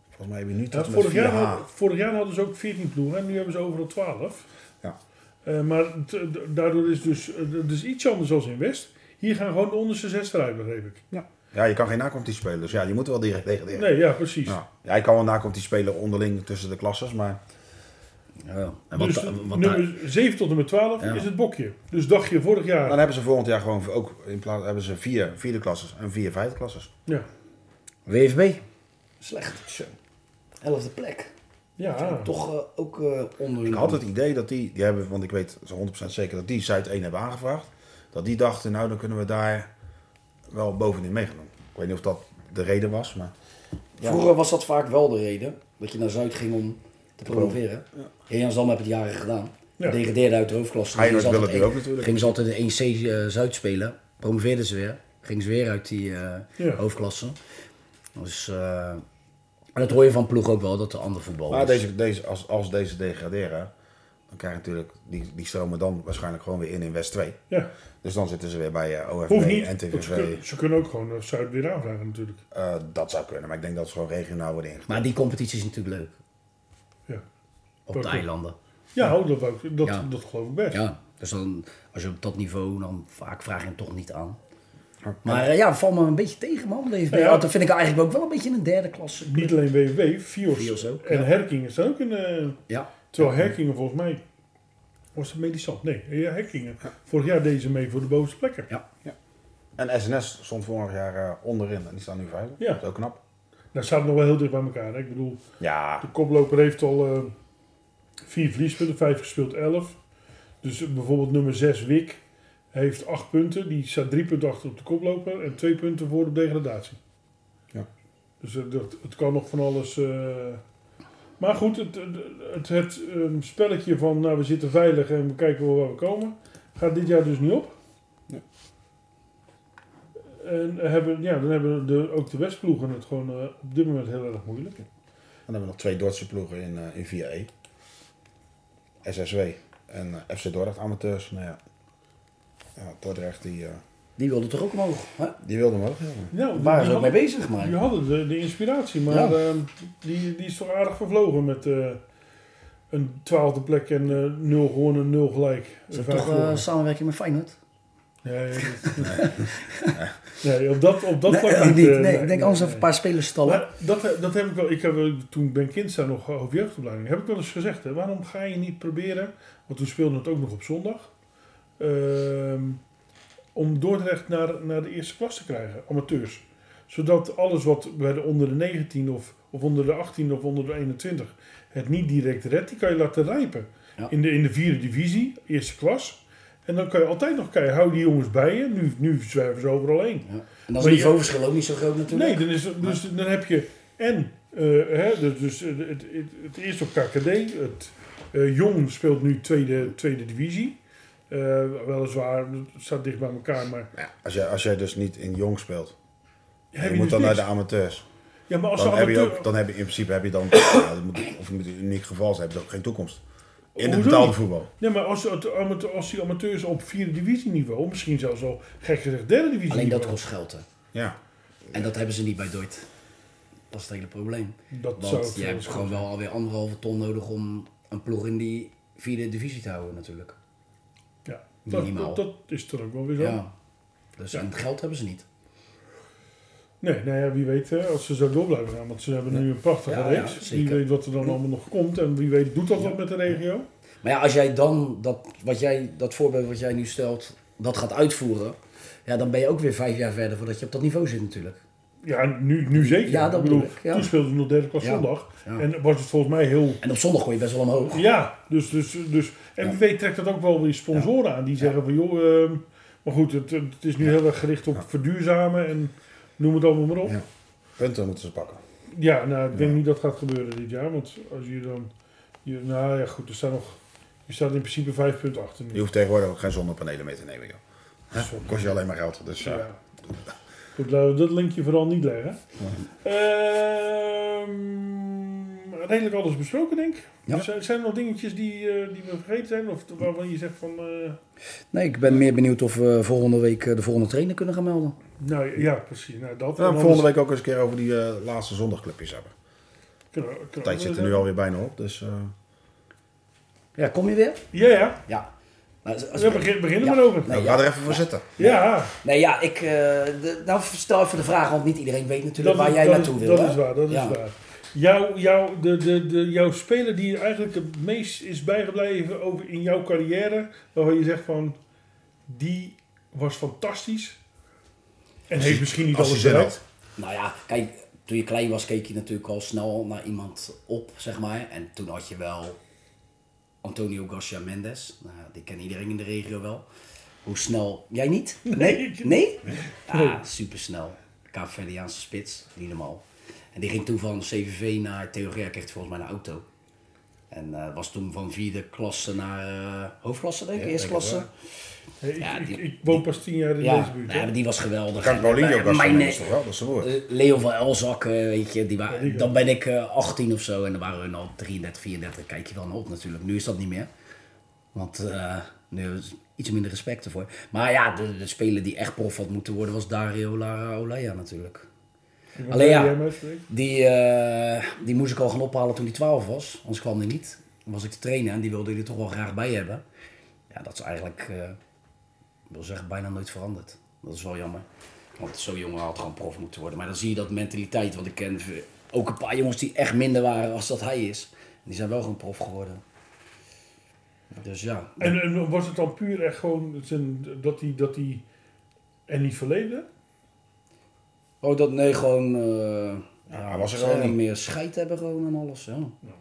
S3: Volgens mij hebben we nu
S2: Ja,
S3: tot en met
S2: vorig,
S3: 4H.
S2: jaar hadden, vorig jaar hadden ze ook 14 ploegen en nu hebben ze overal 12.
S3: Ja.
S2: Eh, maar t- d- daardoor is dus, eh, d- dus iets anders als in West. Hier gaan gewoon de onderste zes eruit, begreep ik.
S3: Ja, je kan geen nacompetitie spelen, dus ja, je moet wel direct degraderen.
S2: Nee, ja, precies.
S3: Ja, ja, je kan wel nacompetitie spelen onderling tussen de klasses, maar
S4: Ja. En wat,
S2: Dus
S4: da- wat daar-
S2: nummer 7 tot en met 12
S4: Ja.
S2: is het bokje. Dus dacht je vorig jaar,
S3: dan hebben ze volgend jaar gewoon ook in plaats hebben ze vier vierde klasses en vier vijfde klasses.
S2: ja,
S4: WFB. Slecht.
S3: Zo.
S4: Elfde plek.
S2: ja,
S4: Toch eh, ook eh onder
S3: Ik had het idee dat die, die hebben, want ik weet zo 100% zeker dat die Zuid 1 hebben aangevraagd. Dat die dachten, nou dan kunnen we daar wel bovenin meegaan. Ik weet niet of dat de reden was, maar Ja.
S4: Vroeger was dat vaak wel de reden. Dat je naar Zuid ging om te promoveren. Jan Zalm heeft het jaren gedaan.
S2: Ja.
S4: Degradeerde uit de hoofdklasse.
S3: Feyenoord
S4: Gingen ze
S3: wil
S4: altijd
S3: het nu
S4: één-
S3: ook natuurlijk.
S4: Gingen ze altijd in 1C eh, Zuid spelen. Promoveerden ze weer. Gingen ze weer uit die eh,
S2: Ja.
S4: hoofdklasse. Dus, eh, en dat hoor je van ploeg ook wel, dat de ander voetbal
S3: Maar
S4: is.
S3: deze, deze, als, als deze degraderen, dan krijg je natuurlijk, die, die stromen dan waarschijnlijk gewoon weer in in West 2.
S2: ja.
S3: Dus dan zitten ze weer bij eh, OFB
S2: Hoeft niet.
S3: en
S2: want Ze,
S3: TVV.
S2: kun- ze kunnen ook gewoon eh, Zuid weer aanvragen natuurlijk.
S3: Eh, dat zou kunnen, maar ik denk dat ze gewoon regionaal worden ingegaan.
S4: Maar die competitie is natuurlijk leuk.
S2: Ja,
S4: Op
S2: Ook.
S4: de eilanden.
S2: ja oh, dat, wou ik- dat,
S4: Ja.
S2: dat geloof ik best.
S4: Ja, dus dan, als je op dat niveau, dan vaak vraag je hem toch niet aan. Maar eh, ja, valt me een beetje tegen, man. Deze
S2: Ja.
S4: Dat vind ik eigenlijk ook wel een beetje een derde klasse.
S2: Niet alleen WW, Fios,
S4: Fios ook,
S2: en
S4: ja.
S2: Herkingen staan ook in... eh,
S4: Ja,
S2: terwijl Herkingen volgens mij... Was het Medisant? Nee, ja, Herkingen. Vorig jaar deden ze mee voor de bovenste plekken.
S4: ja.
S3: En SNS stond vorig jaar eh, onderin en die staan nu vijfde.
S2: Ja.
S3: Dat is ook knap.
S2: Nou, staat nog wel heel dicht bij elkaar. Hè? Ik bedoel,
S3: Ja,
S2: de koploper heeft al eh, vier verliespunten, vijf gespeeld, elf. Dus eh, bijvoorbeeld nummer zes, Wik, heeft acht punten. Die staat drie punten achter op de koploper en twee punten voor op degradatie.
S3: Ja.
S2: Dus eh, dat, het kan nog van alles... eh, Maar goed, het, het, het, het, ehm, spelletje van nou, we zitten veilig en we kijken wel waar we komen, gaat dit jaar dus niet op.
S3: Nee.
S2: En hebben, ja, dan hebben de, ook de Westploegen het gewoon eh, op dit moment heel erg moeilijk.
S3: dan hebben we nog twee Duitse ploegen in, eh, in 4E. SSW en eh, FC Dordrecht amateurs. Nou ja, ja Dordrecht die, eh,
S4: Die wilde toch ook omhoog? Hè?
S3: die wilde hem ook. hebben.
S2: Nou,
S4: Waar
S2: die
S4: ze ook
S2: hadden-
S4: mee bezig, maar.
S2: Die hadden de, de inspiratie, maar
S4: Ja.
S2: ehm, die, die is toch aardig vervlogen met eh, een twaalfde plek en eh, nul gewonnen, nul gelijk.
S4: Is dat
S2: Vijf
S4: toch eh,
S2: verloren.
S4: samenwerking met Feyenoord?
S2: Nee, dat- nee, op dat, op dat
S4: nee,
S2: vlak
S4: eh,
S2: niet.
S4: niet.
S2: eh,
S4: nee, ik denk anders
S2: nee.
S4: even een paar spelers stallen.
S2: Maar dat, dat heb ik wel. Ik heb, eh, toen Ben Kinsta nog eh, over jeugdopleiding. Heb ik wel eens gezegd. Hè, waarom ga je niet proberen. Want toen speelden we het ook nog op zondag. ehm, om Dordrecht naar, naar de eerste klas te krijgen. Amateurs. Zodat alles wat bij de onder de 19 of, of onder de 18 of onder de 21 het niet direct redt. Die kan je laten rijpen.
S4: Ja.
S2: In, de, in de vierde divisie, eerste klas. En dan kan je altijd nog kijken. Hou die jongens bij je. Nu, nu zwerven ze overal heen.
S4: Ja. En dan is
S2: je-
S4: het niveauverschil ook niet zo groot natuurlijk.
S2: Nee, dan, is, het- dus, dan heb je en eh, hè, dus, dus, eh, het, het, het eerste op KKD. Het, eh, Jong speelt nu tweede, tweede divisie. Eh, weliswaar, het staat dicht bij elkaar, maar...
S3: Nou ja, als, jij, als jij dus niet in jong speelt,
S2: Ja,
S3: je moet dan naar
S2: dus niks.
S3: de amateurs.
S2: Ja, maar als
S3: Dan
S2: de
S3: heb, je
S2: amateur...
S3: ook, dan heb je in principe heb je dan, ja, dat moet, of je moet een uniek geval zijn, heb je ook geen toekomst. In het
S2: Hoezo
S3: betaalde
S2: niet?
S3: voetbal.
S2: Nee, maar als, het amateur, als die amateurs op vierde divisieniveau, misschien zelfs al gek gezegd derde divisie
S4: Alleen dat kost geld. hè.
S3: Ja.
S4: En dat hebben ze niet bij Deutsch. Dat is het hele probleem.
S2: Dat zou
S4: Want
S2: het
S4: je hebt
S2: zijn.
S4: gewoon wel alweer anderhalve ton nodig om een ploeg in die vierde divisie te houden natuurlijk.
S2: Ja, dat,
S4: Minimaal.
S2: dat, dat is dan ook wel weer zo.
S4: Ja. Dus
S2: Ja.
S4: en geld hebben ze niet.
S2: Nee, nou ja, wie weet eh, als ze zo door blijven gaan. Want ze hebben nu een prachtige
S4: Ja, ja,
S2: reeks. wie
S4: zeker.
S2: weet wat er dan allemaal nog komt. En wie weet doet dat wat met de regio.
S4: Maar ja, als jij dan dat, wat jij, dat voorbeeld wat jij nu stelt, dat gaat uitvoeren. Ja, dan ben je ook weer vijf jaar verder voordat je op dat niveau zit natuurlijk.
S2: Ja, nu, nu zeker.
S4: Ja, dat bedoel ik, ja.
S2: Toen speelden ze nog derde klas
S4: Ja.
S2: zondag.
S4: Ja.
S2: En was het volgens mij heel...
S4: En op zondag gooi je best wel omhoog.
S2: Ja, dus... dus, dus en wie weet trekt dat ook wel weer sponsoren aan. Die zeggen van, joh... ehm, maar goed, het, het is nu heel erg gericht op verduurzamen en noem het allemaal maar op.
S3: Ja. Punten moeten ze pakken.
S2: Ja, nou, ik denk niet dat gaat gebeuren dit jaar. Want als je dan... Je, nou ja, goed, er staat nog... Je staat in principe vijf punten achter nu.
S3: Je hoeft tegenwoordig ook geen zonnepanelen mee te nemen, joh. Hè?
S2: Zonde.
S3: Kost je alleen maar geld. Dus, ja.
S2: Ja. Goed, laten we dat linkje vooral niet leggen. Ehm, redelijk alles besproken, denk ik.
S4: Ja.
S2: Zijn, zijn er nog dingetjes die, eh, die we vergeten zijn? Of waarvan je zegt van... eh,
S4: Nee, ik ben meer benieuwd of we volgende week eh, de volgende trainer kunnen gaan melden.
S2: nou ja, precies. Nou, dat.
S3: We gaan volgende week ook eens een keer over die eh, laatste zondagclubjes hebben.
S2: week.
S3: De tijd zit er nu alweer bijna op, dus... eh,
S4: Ja, kom je weer?
S2: Ja, ja.
S4: Ja. Nou, als- als-
S2: We begin, beginnen
S4: Ja.
S2: maar over.
S4: Nee,
S3: nou,
S4: ja.
S3: ga er even voor zitten.
S2: Ja,
S4: Nee, ja, ik, eh, de- nou stel even de vraag, want niet iedereen weet natuurlijk
S2: is-
S4: waar jij
S2: dat
S4: naartoe
S2: is,
S4: wil.
S2: Dat
S4: hè?
S2: is waar, dat
S4: Ja.
S2: is waar. Jouw, jouw, de, de, de, jouw speler die eigenlijk het meest is bijgebleven over in jouw carrière, waarvan je zegt van, die was fantastisch. En heeft misschien niet
S3: als
S2: alles
S3: hij zin
S2: bereikt.
S4: Nou ja, kijk, toen je klein was keek je natuurlijk al snel naar iemand op, zeg maar. En toen had je wel Antonio Garcia Mendes. Nou, die kent iedereen in de regio wel. Hoe snel? Jij niet? Nee? Nee? Ah, supersnel. Kaapverdiaanse spits, niet normaal. En die ging toen van CVV naar Theoria, kreeg hij volgens mij een auto. En eh, was toen van vierde klasse naar eh, hoofdklasse, denk ik,
S3: Ja,
S4: eerste
S3: denk
S4: klasse.
S3: het
S2: Hey, ik,
S4: Ja,
S2: ik-
S4: die-
S2: ik woon pas tien jaar in
S4: Ja,
S2: deze buurt.
S4: nou,
S2: hè.
S4: maar die was geweldig.
S3: Kan Paulinho
S4: Mijn-
S3: ook als
S4: mijn-
S3: is toch wel? Dat is een woord.
S4: eh, Leo van Elzak, eh, weet je, die wa-
S2: die
S4: dan ben ik eh, 18 of zo en dan waren we al 33, 34. Kijk je wel naar op natuurlijk. Nu is dat niet meer. Want eh, nu is iets minder respect ervoor. Maar ja, de, de speler die echt prof had moeten worden was Dario Lara Olea natuurlijk.
S2: Iemand
S4: alleen
S2: die
S4: ja.
S2: jij hem uitspreekt?
S4: Die, eh, die moest ik al gaan ophalen toen hij 12 was, anders kwam hij niet. Dan was ik te trainen en die wilde hij er toch wel graag bij hebben. Ja, dat is eigenlijk, eh, ik wil zeggen, bijna nooit veranderd. Dat is wel jammer. Want zo'n jongen had gewoon prof moeten worden. Maar dan zie je dat mentaliteit, want ik ken ve- ook een paar jongens die echt minder waren als dat hij is. En die zijn wel gewoon prof geworden. Dus ja.
S2: En, en was het dan puur echt gewoon zijn, dat hij dat die, en niet verleden?
S4: Oh, dat nee, gewoon... eh
S3: hij was er
S4: ze
S3: gewoon niet.
S4: meer scheid hebben gewoon en alles. Ja.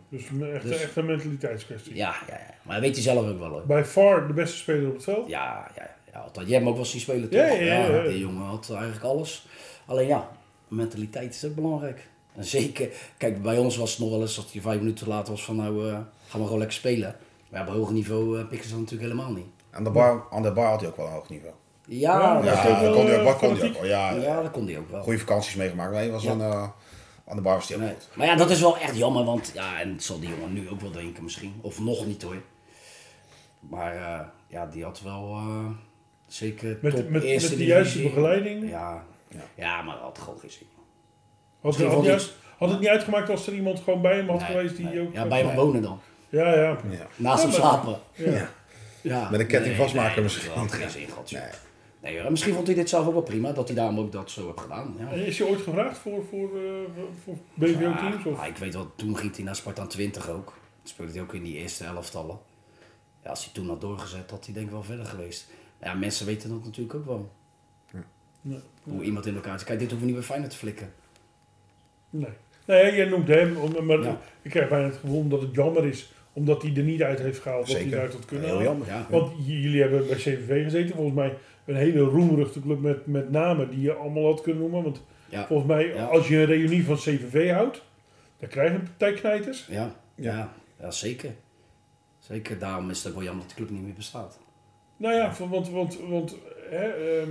S2: Dus echt,
S4: Dus-
S2: echt een mentaliteitskwestie.
S4: Ja, ja, ja. Maar dat weet hij zelf ook wel hoor.
S2: By far de beste speler op het veld.
S4: Ja, ja, ja altijd. Jij hebt hem ook wel zien spelen toch?
S2: Ja, ja, ja, ja.
S4: Die jongen had eigenlijk alles. Alleen ja, mentaliteit is ook belangrijk. En zeker, kijk, bij ons was het nog wel eens dat je vijf minuten te laat was van nou, eh, gaan we gewoon lekker spelen. Maar ja, bij hoog niveau eh, pikken ze dat natuurlijk helemaal niet.
S3: Aan de, bar, aan de bar had hij ook wel een hoog niveau.
S4: Ja,
S2: Ja,
S4: ja,
S3: Ja,
S2: ook wel,
S3: dat kon hij ook,
S2: eh,
S3: wat kon hij ook
S2: fanatiek.
S3: wel. Ja, ja.
S4: dat kon hij ook wel.
S3: goede vakanties meegemaakt. Nee, was
S4: Ja.
S3: aan, eh, aan de bar was hij ook
S4: Nee.
S3: goed.
S4: Maar ja, dat is wel echt jammer, want ja, en het zal die jongen nu ook wel denken misschien. Of nog niet hoor. Maar eh, ja, die had wel eh, zeker
S2: Met-
S4: top
S2: met- met de
S4: eerste
S2: juiste
S4: divisie.
S2: begeleiding.
S4: Ja, ja. maar dat had gewoon geen zin.
S2: Had,
S4: Misschien
S2: had,
S4: vond
S2: niet
S4: ik-
S2: uit- had het niet uitgemaakt als er iemand gewoon bij hem had
S4: Nee,
S2: geweest die
S4: nee.
S2: ook...
S4: Ja, bij hem wonen dan.
S2: Ja, ja.
S3: Ja.
S4: Naast hem
S2: Ja, maar-
S4: slapen.
S3: Ja.
S4: Ja.
S3: Met een ketting vastmaken
S4: nee,
S3: misschien.
S4: Dat had geen zin gehad. joh.
S3: Nee.
S4: Nee, hoor. En misschien vond hij dit zelf ook wel prima, dat hij daarom ook dat zo heeft gedaan. Ja.
S2: En Is je ooit gevraagd voor, voor, eh, voor BVO-teams?
S4: Ah, ik weet wel, toen ging hij naar Spartaan 20 ook. Toen speelde hij ook in die eerste elftallen. Ja, als hij toen had doorgezet, had hij denk ik wel verder geweest. Ja, mensen weten dat natuurlijk ook wel.
S2: Nee.
S4: Hoe iemand in elkaar zit. Kijk, dit hoeven we niet bij Feyenoord te flikken.
S2: nee. Nee, jij noemt hem, om- maar
S4: Ja.
S2: ik krijg bijna het gevoel dat het jammer is. Omdat hij er niet uit heeft gehaald wat hij
S3: Zeker.
S2: eruit had kunnen
S3: Heel
S2: halen.
S3: jammer.
S4: Ja.
S2: Want j- jullie hebben bij CVV gezeten. Volgens mij een hele roemruchte club met, met namen die je allemaal had kunnen noemen. Want
S4: Ja.
S2: volgens mij,
S4: Ja.
S2: als je een reunie van CVV houdt, dan krijg je een partij knijters.
S4: Ja, ja.
S3: Ja.
S4: ja. zeker. Zeker, daarom is het ook wel jammer dat de club niet meer bestaat.
S2: Nou ja, van- want, want, want hè, ehm,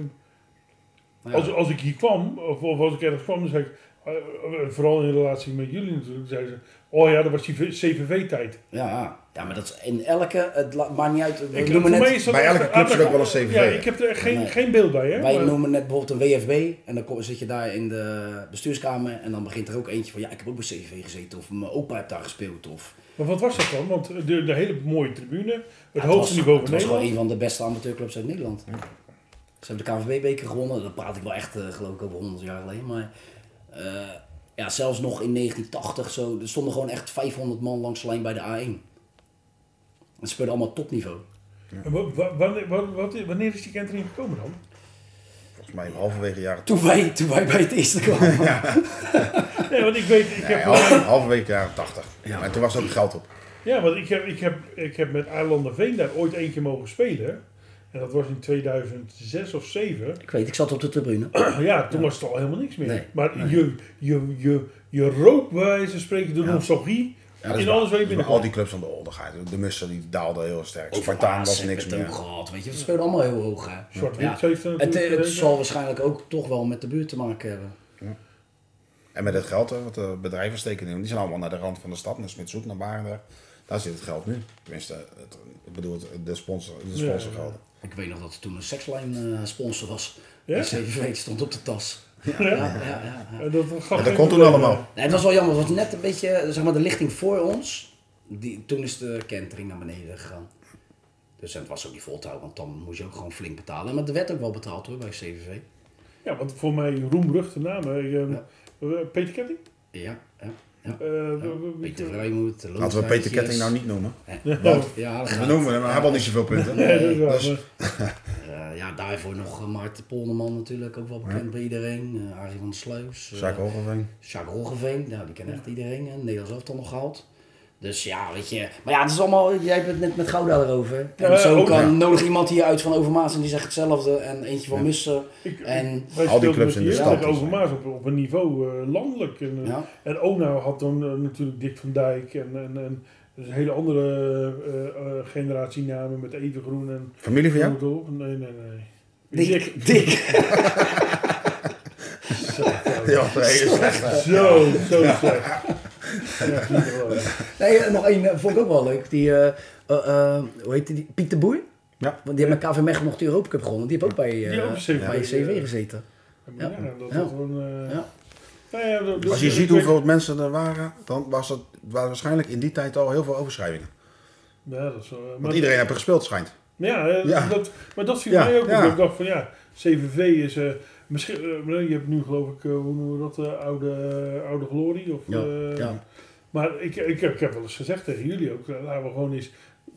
S4: Nou Ja.
S2: als, als ik hier kwam, of, of als ik ergens kwam, dan zei ik, eh, eh, vooral in relatie met jullie natuurlijk, zeiden ze, oh ja, dat was die CVV-tijd.
S4: Ja, ja. ja, maar dat is in elke, het la- maakt niet uit, we
S2: Ik
S4: noemen net,
S3: bij elke club zit ook wel een CVV.
S2: Ja, ik heb er echt geen,
S4: Nee.
S2: geen beeld bij, hè.
S4: wij
S2: maar-
S4: noemen net bijvoorbeeld een WFB en dan kom- zit je daar in de bestuurskamer en dan begint er ook eentje van, ja, ik heb ook bij CV gezeten of mijn opa heeft daar gespeeld of...
S2: Maar wat was dat dan? Want de, de hele mooie tribune, het
S4: Ja,
S2: hoogste
S4: was-
S2: niveau van
S4: Het was gewoon
S2: Nederland.
S4: een van de beste amateurclubs uit Nederland. Ze hebben de KNVB-beker gewonnen. Dat praat ik wel echt, eh, geloof ik, over 100 jaar geleden. Maar eh, ja, zelfs nog in 1980 zo, er stonden gewoon echt 500 man langs de lijn bij de A1. Het speelde allemaal topniveau.
S2: En wa- wa- wanneer- wa- wat- Wanneer is die kentering gekomen dan?
S3: Volgens mij halverwege jaren
S4: Toen wij, toen wij bij het eerste kwamen.
S2: Nee, want ik weet, ik heb...
S3: Ja, half- halverwege jaren 80.
S4: Ja.
S3: En toen was er ook geld op.
S2: Ja, want ik heb, ik heb, ik heb met Eilanden Veen daar ooit één keer mogen spelen. En dat was in 2006 of 2007.
S4: Ik weet, ik zat op de tribune.
S2: Nou Ja, toen was het al helemaal niks meer.
S4: Nee,
S2: maar Je, je, je, je rook bij wijze van spreken de nostalgie
S3: Ja, dat is
S2: in
S3: waar.
S2: alles waar je
S3: Dus met al
S2: binnenkomt.
S3: die clubs aan de ondergaat. De Mussen die daalden heel sterk.
S4: Over
S3: Spartaan was
S4: Aas
S3: niks
S4: hebben we
S3: meer.
S4: het ook gehad, weet je. Het speelde allemaal heel hoog. Hè.
S2: Zwart-wit heeft er
S4: Het, eh,
S2: natuurlijk
S4: het
S2: gereden.
S4: zal waarschijnlijk ook toch wel met de buurt te maken hebben.
S3: En met het geld hè, wat de bedrijven steken in. Die zijn allemaal naar de rand van de stad. Naar Smitshoek, naar Barendrecht. Daar zit het geld nu. Tenminste, het, ik bedoel het- de, sponsor,
S2: Ja,
S3: de sponsorgelden.
S4: Ik weet nog dat er toen een sexline eh, sponsor was.
S2: Ja?
S4: De CVV stond op de tas.
S2: Ja.
S4: Ja, ja, ja.
S2: En dat, dat, gaf
S3: En dat
S2: geen
S3: komt toen
S2: probleem.
S3: allemaal.
S4: Nee, het was wel jammer. Het was net een beetje, eh, zeg maar, de lichting voor ons. Die, toen is de kentering naar beneden gegaan. Dus en het was ook niet vol te houden, want dan moest je ook gewoon flink betalen. Maar er werd ook wel betaald hoor, bij CVV.
S2: Ja, want voor mij roemruchte namen. eh, eh, Peter Ketting?
S4: Ja, ja. ja.
S2: Eh, wie- wie-
S4: Peter Vrijmoed, de
S3: Laten we Peter
S4: Loodwijkjes.
S3: Ketting nou niet noemen.
S2: Ja.
S4: Ja, dat
S3: We
S4: gaat.
S3: noemen hem, maar hij heeft al niet zoveel punten.
S2: Nee, dat is waar,
S3: Dus-
S2: maar-
S4: Eh, ja, daarvoor nog eh, Maarten Polderman natuurlijk, ook wel bekend bij iedereen. Eh, Arie van der Sluis. eh,
S3: Sjaak Hogeveen.
S4: Jacques Roggeveen, nou, die kent echt iedereen. En Nederlands elftal nog gehaald. Dus ja, weet je. Maar ja, het is allemaal. Jij hebt het net met Gouda erover. En
S2: Ja,
S4: zo
S2: ook,
S4: kan
S2: ja.
S4: nodig iemand hier uit van Overmaas en die zegt hetzelfde. En eentje van Mussen.
S2: Ik-
S4: En
S2: Wij
S3: Al die
S2: speelden
S3: clubs
S2: met
S3: in de
S2: Heerlijk
S3: stad.
S2: Overmaas op, op een niveau eh, landelijk. En, eh,
S4: Ja.
S2: en Ona had dan eh, natuurlijk Dick van Dijk en, en, en dus een hele andere eh, eh, generatie namen met Evengroen en
S3: Familie van jou?
S2: Noordhof. Nee, nee, nee. Dick.
S4: Dick. Dick.
S3: Ja, hele slechte.
S2: Zo, zo slecht. Ja, niet te geloven.
S4: Nee, eh, nog één eh, vond ik ook wel leuk. Die, eh, eh, eh, hoe heet die? Piet de Boer.
S3: Ja.
S4: Want die heeft met KV Mechelen nog de Europa Cup gewonnen. Die heeft ook bij, eh,
S2: Die ook CV.
S4: bij CV gezeten.
S2: Ja, dat was
S4: Ja.
S2: gewoon, eh,
S4: Ja.
S2: nou ja, dat- dat-
S3: Als je
S2: ik
S3: ziet
S2: weet-
S3: hoeveel mensen er waren, dan was het, waren waarschijnlijk in die tijd al heel veel overschrijvingen.
S2: Ja, dat is wel- eh, maar-
S3: Want iedereen heeft er gespeeld, schijnt.
S2: Ja, eh,
S3: Ja.
S2: Dat, maar dat viel
S3: Ja,
S2: mij ook
S3: ja.
S2: op. Ik dacht van ja, CVV is eh, misschien. eh, je hebt nu geloof ik, eh, hoe noemen we dat, eh, oude, eh, oude glorie. Of,
S4: Ja,
S2: eh,
S4: ja.
S2: Maar ik, ik, heb- ik heb wel eens gezegd tegen jullie ook, eh, laten we gewoon eens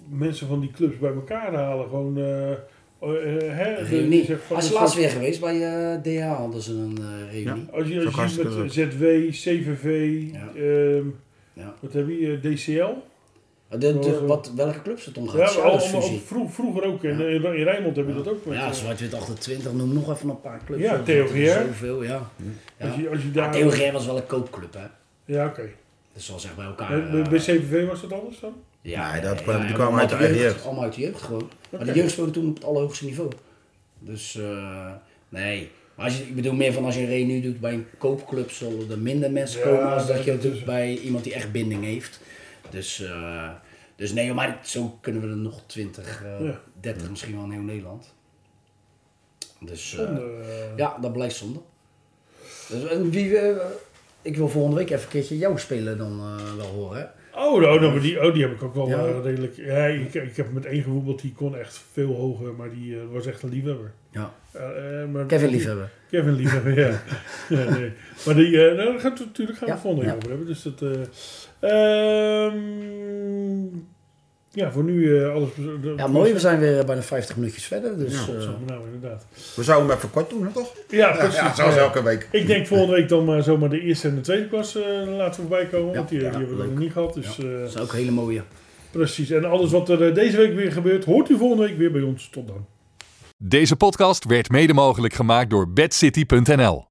S2: mensen van die clubs bij elkaar halen. Gewoon. eh, eh, hè, de- die
S4: Reunie.
S2: zegt van-
S4: Hij is laatst weer geweest bij eh, DH hadden ze een eh, reunie.
S2: Als je,
S3: Zo
S2: als je
S3: hartstikke
S2: met eh, ZW, CVV,
S4: Ja.
S2: ehm,
S4: Ja.
S2: wat heb je, eh, DCL?
S4: De, de- wat, welke clubs het om gaat.
S2: Ja, al,
S4: Zuidersfusie.
S2: vroeg, vroeger ook. In, eh,
S4: Ja.
S2: in Rijnmond heb je dat ook. met,
S4: Ja,
S2: eh,
S4: zwart-wit 28, noem nog even een paar clubs.
S2: Ja,
S4: Er
S2: Theo
S4: zijn er
S2: Geer.
S4: Zoveel, ja.
S2: als
S4: ja.
S2: je, als je
S4: Maar
S2: daar,
S4: Theo Geer was wel een koopclub, hè.
S2: Ja, oké.
S4: Dus zal zeg bij elkaar...
S2: Bij- bij-
S4: eh,
S2: bij CVV was dat anders dan?
S4: ja,
S3: Nee, dat- die
S4: maar
S3: kwamen
S4: allemaal
S3: uit de eigen
S4: jeugd.
S3: jeugd.
S4: Allemaal uit de jeugd gewoon. Maar de
S2: Oké.
S4: jeugd speelde toen op het allerhoogste niveau. Dus, eh, nee. Maar als je, ik bedoel meer van als je een reunie doet bij een koopclub zullen er minder mensen
S2: Ja,
S4: komen als dat
S2: dat
S4: je
S2: is
S4: het doet
S2: zo.
S4: bij iemand die echt binding heeft. Dus, eh, dus nee, maar zo kunnen we er nog 20, eh,
S2: Ja.
S4: 30 misschien wel in heel Nederland. Dus, eh,
S2: Zonde, eh.
S4: Ja, dat blijft zonde. Dus, en wie, eh, ik wil volgende week even een keertje jou spelen dan eh, wel horen. hè?
S2: Oh, nou, nou, maar die, oh, die heb ik ook wel
S4: Ja.
S2: eh, redelijk. Ja, ik, ik heb met één gevoetbald, die kon echt veel hoger, maar die eh, was echt een liefhebber.
S4: Ja.
S2: Eh, eh, maar-
S4: Kevin liefhebben.
S2: Kevin liefhebber, ja. ja nee. Maar die, eh, nou, daar gaan we natuurlijk gaan we
S4: Ja,
S2: volgende week
S4: ja.
S2: over hebben. Dus dat, eh, ehm, ja, voor nu eh, alles.
S4: Ja, mooi. We zijn weer bijna 50 minuutjes verder. Dus,
S3: Ja,
S4: eh,
S2: Nou, inderdaad.
S3: We zouden hem even kort doen, hè, toch?
S2: Ja, precies. Eh,
S3: Ja, zoals elke week.
S2: Ik denk volgende week dan maar zomaar de eerste en de tweede klas eh, laten voorbij komen.
S4: Ja,
S2: want die, die
S4: ja,
S2: hebben we
S4: leuk.
S2: nog niet gehad. Dus, eh,
S4: dat zijn ook hele mooie.
S2: Precies. En alles wat er eh, deze week weer gebeurt, hoort u volgende week weer bij ons. Tot dan.
S1: Deze podcast werd mede mogelijk gemaakt door bedcity.nl.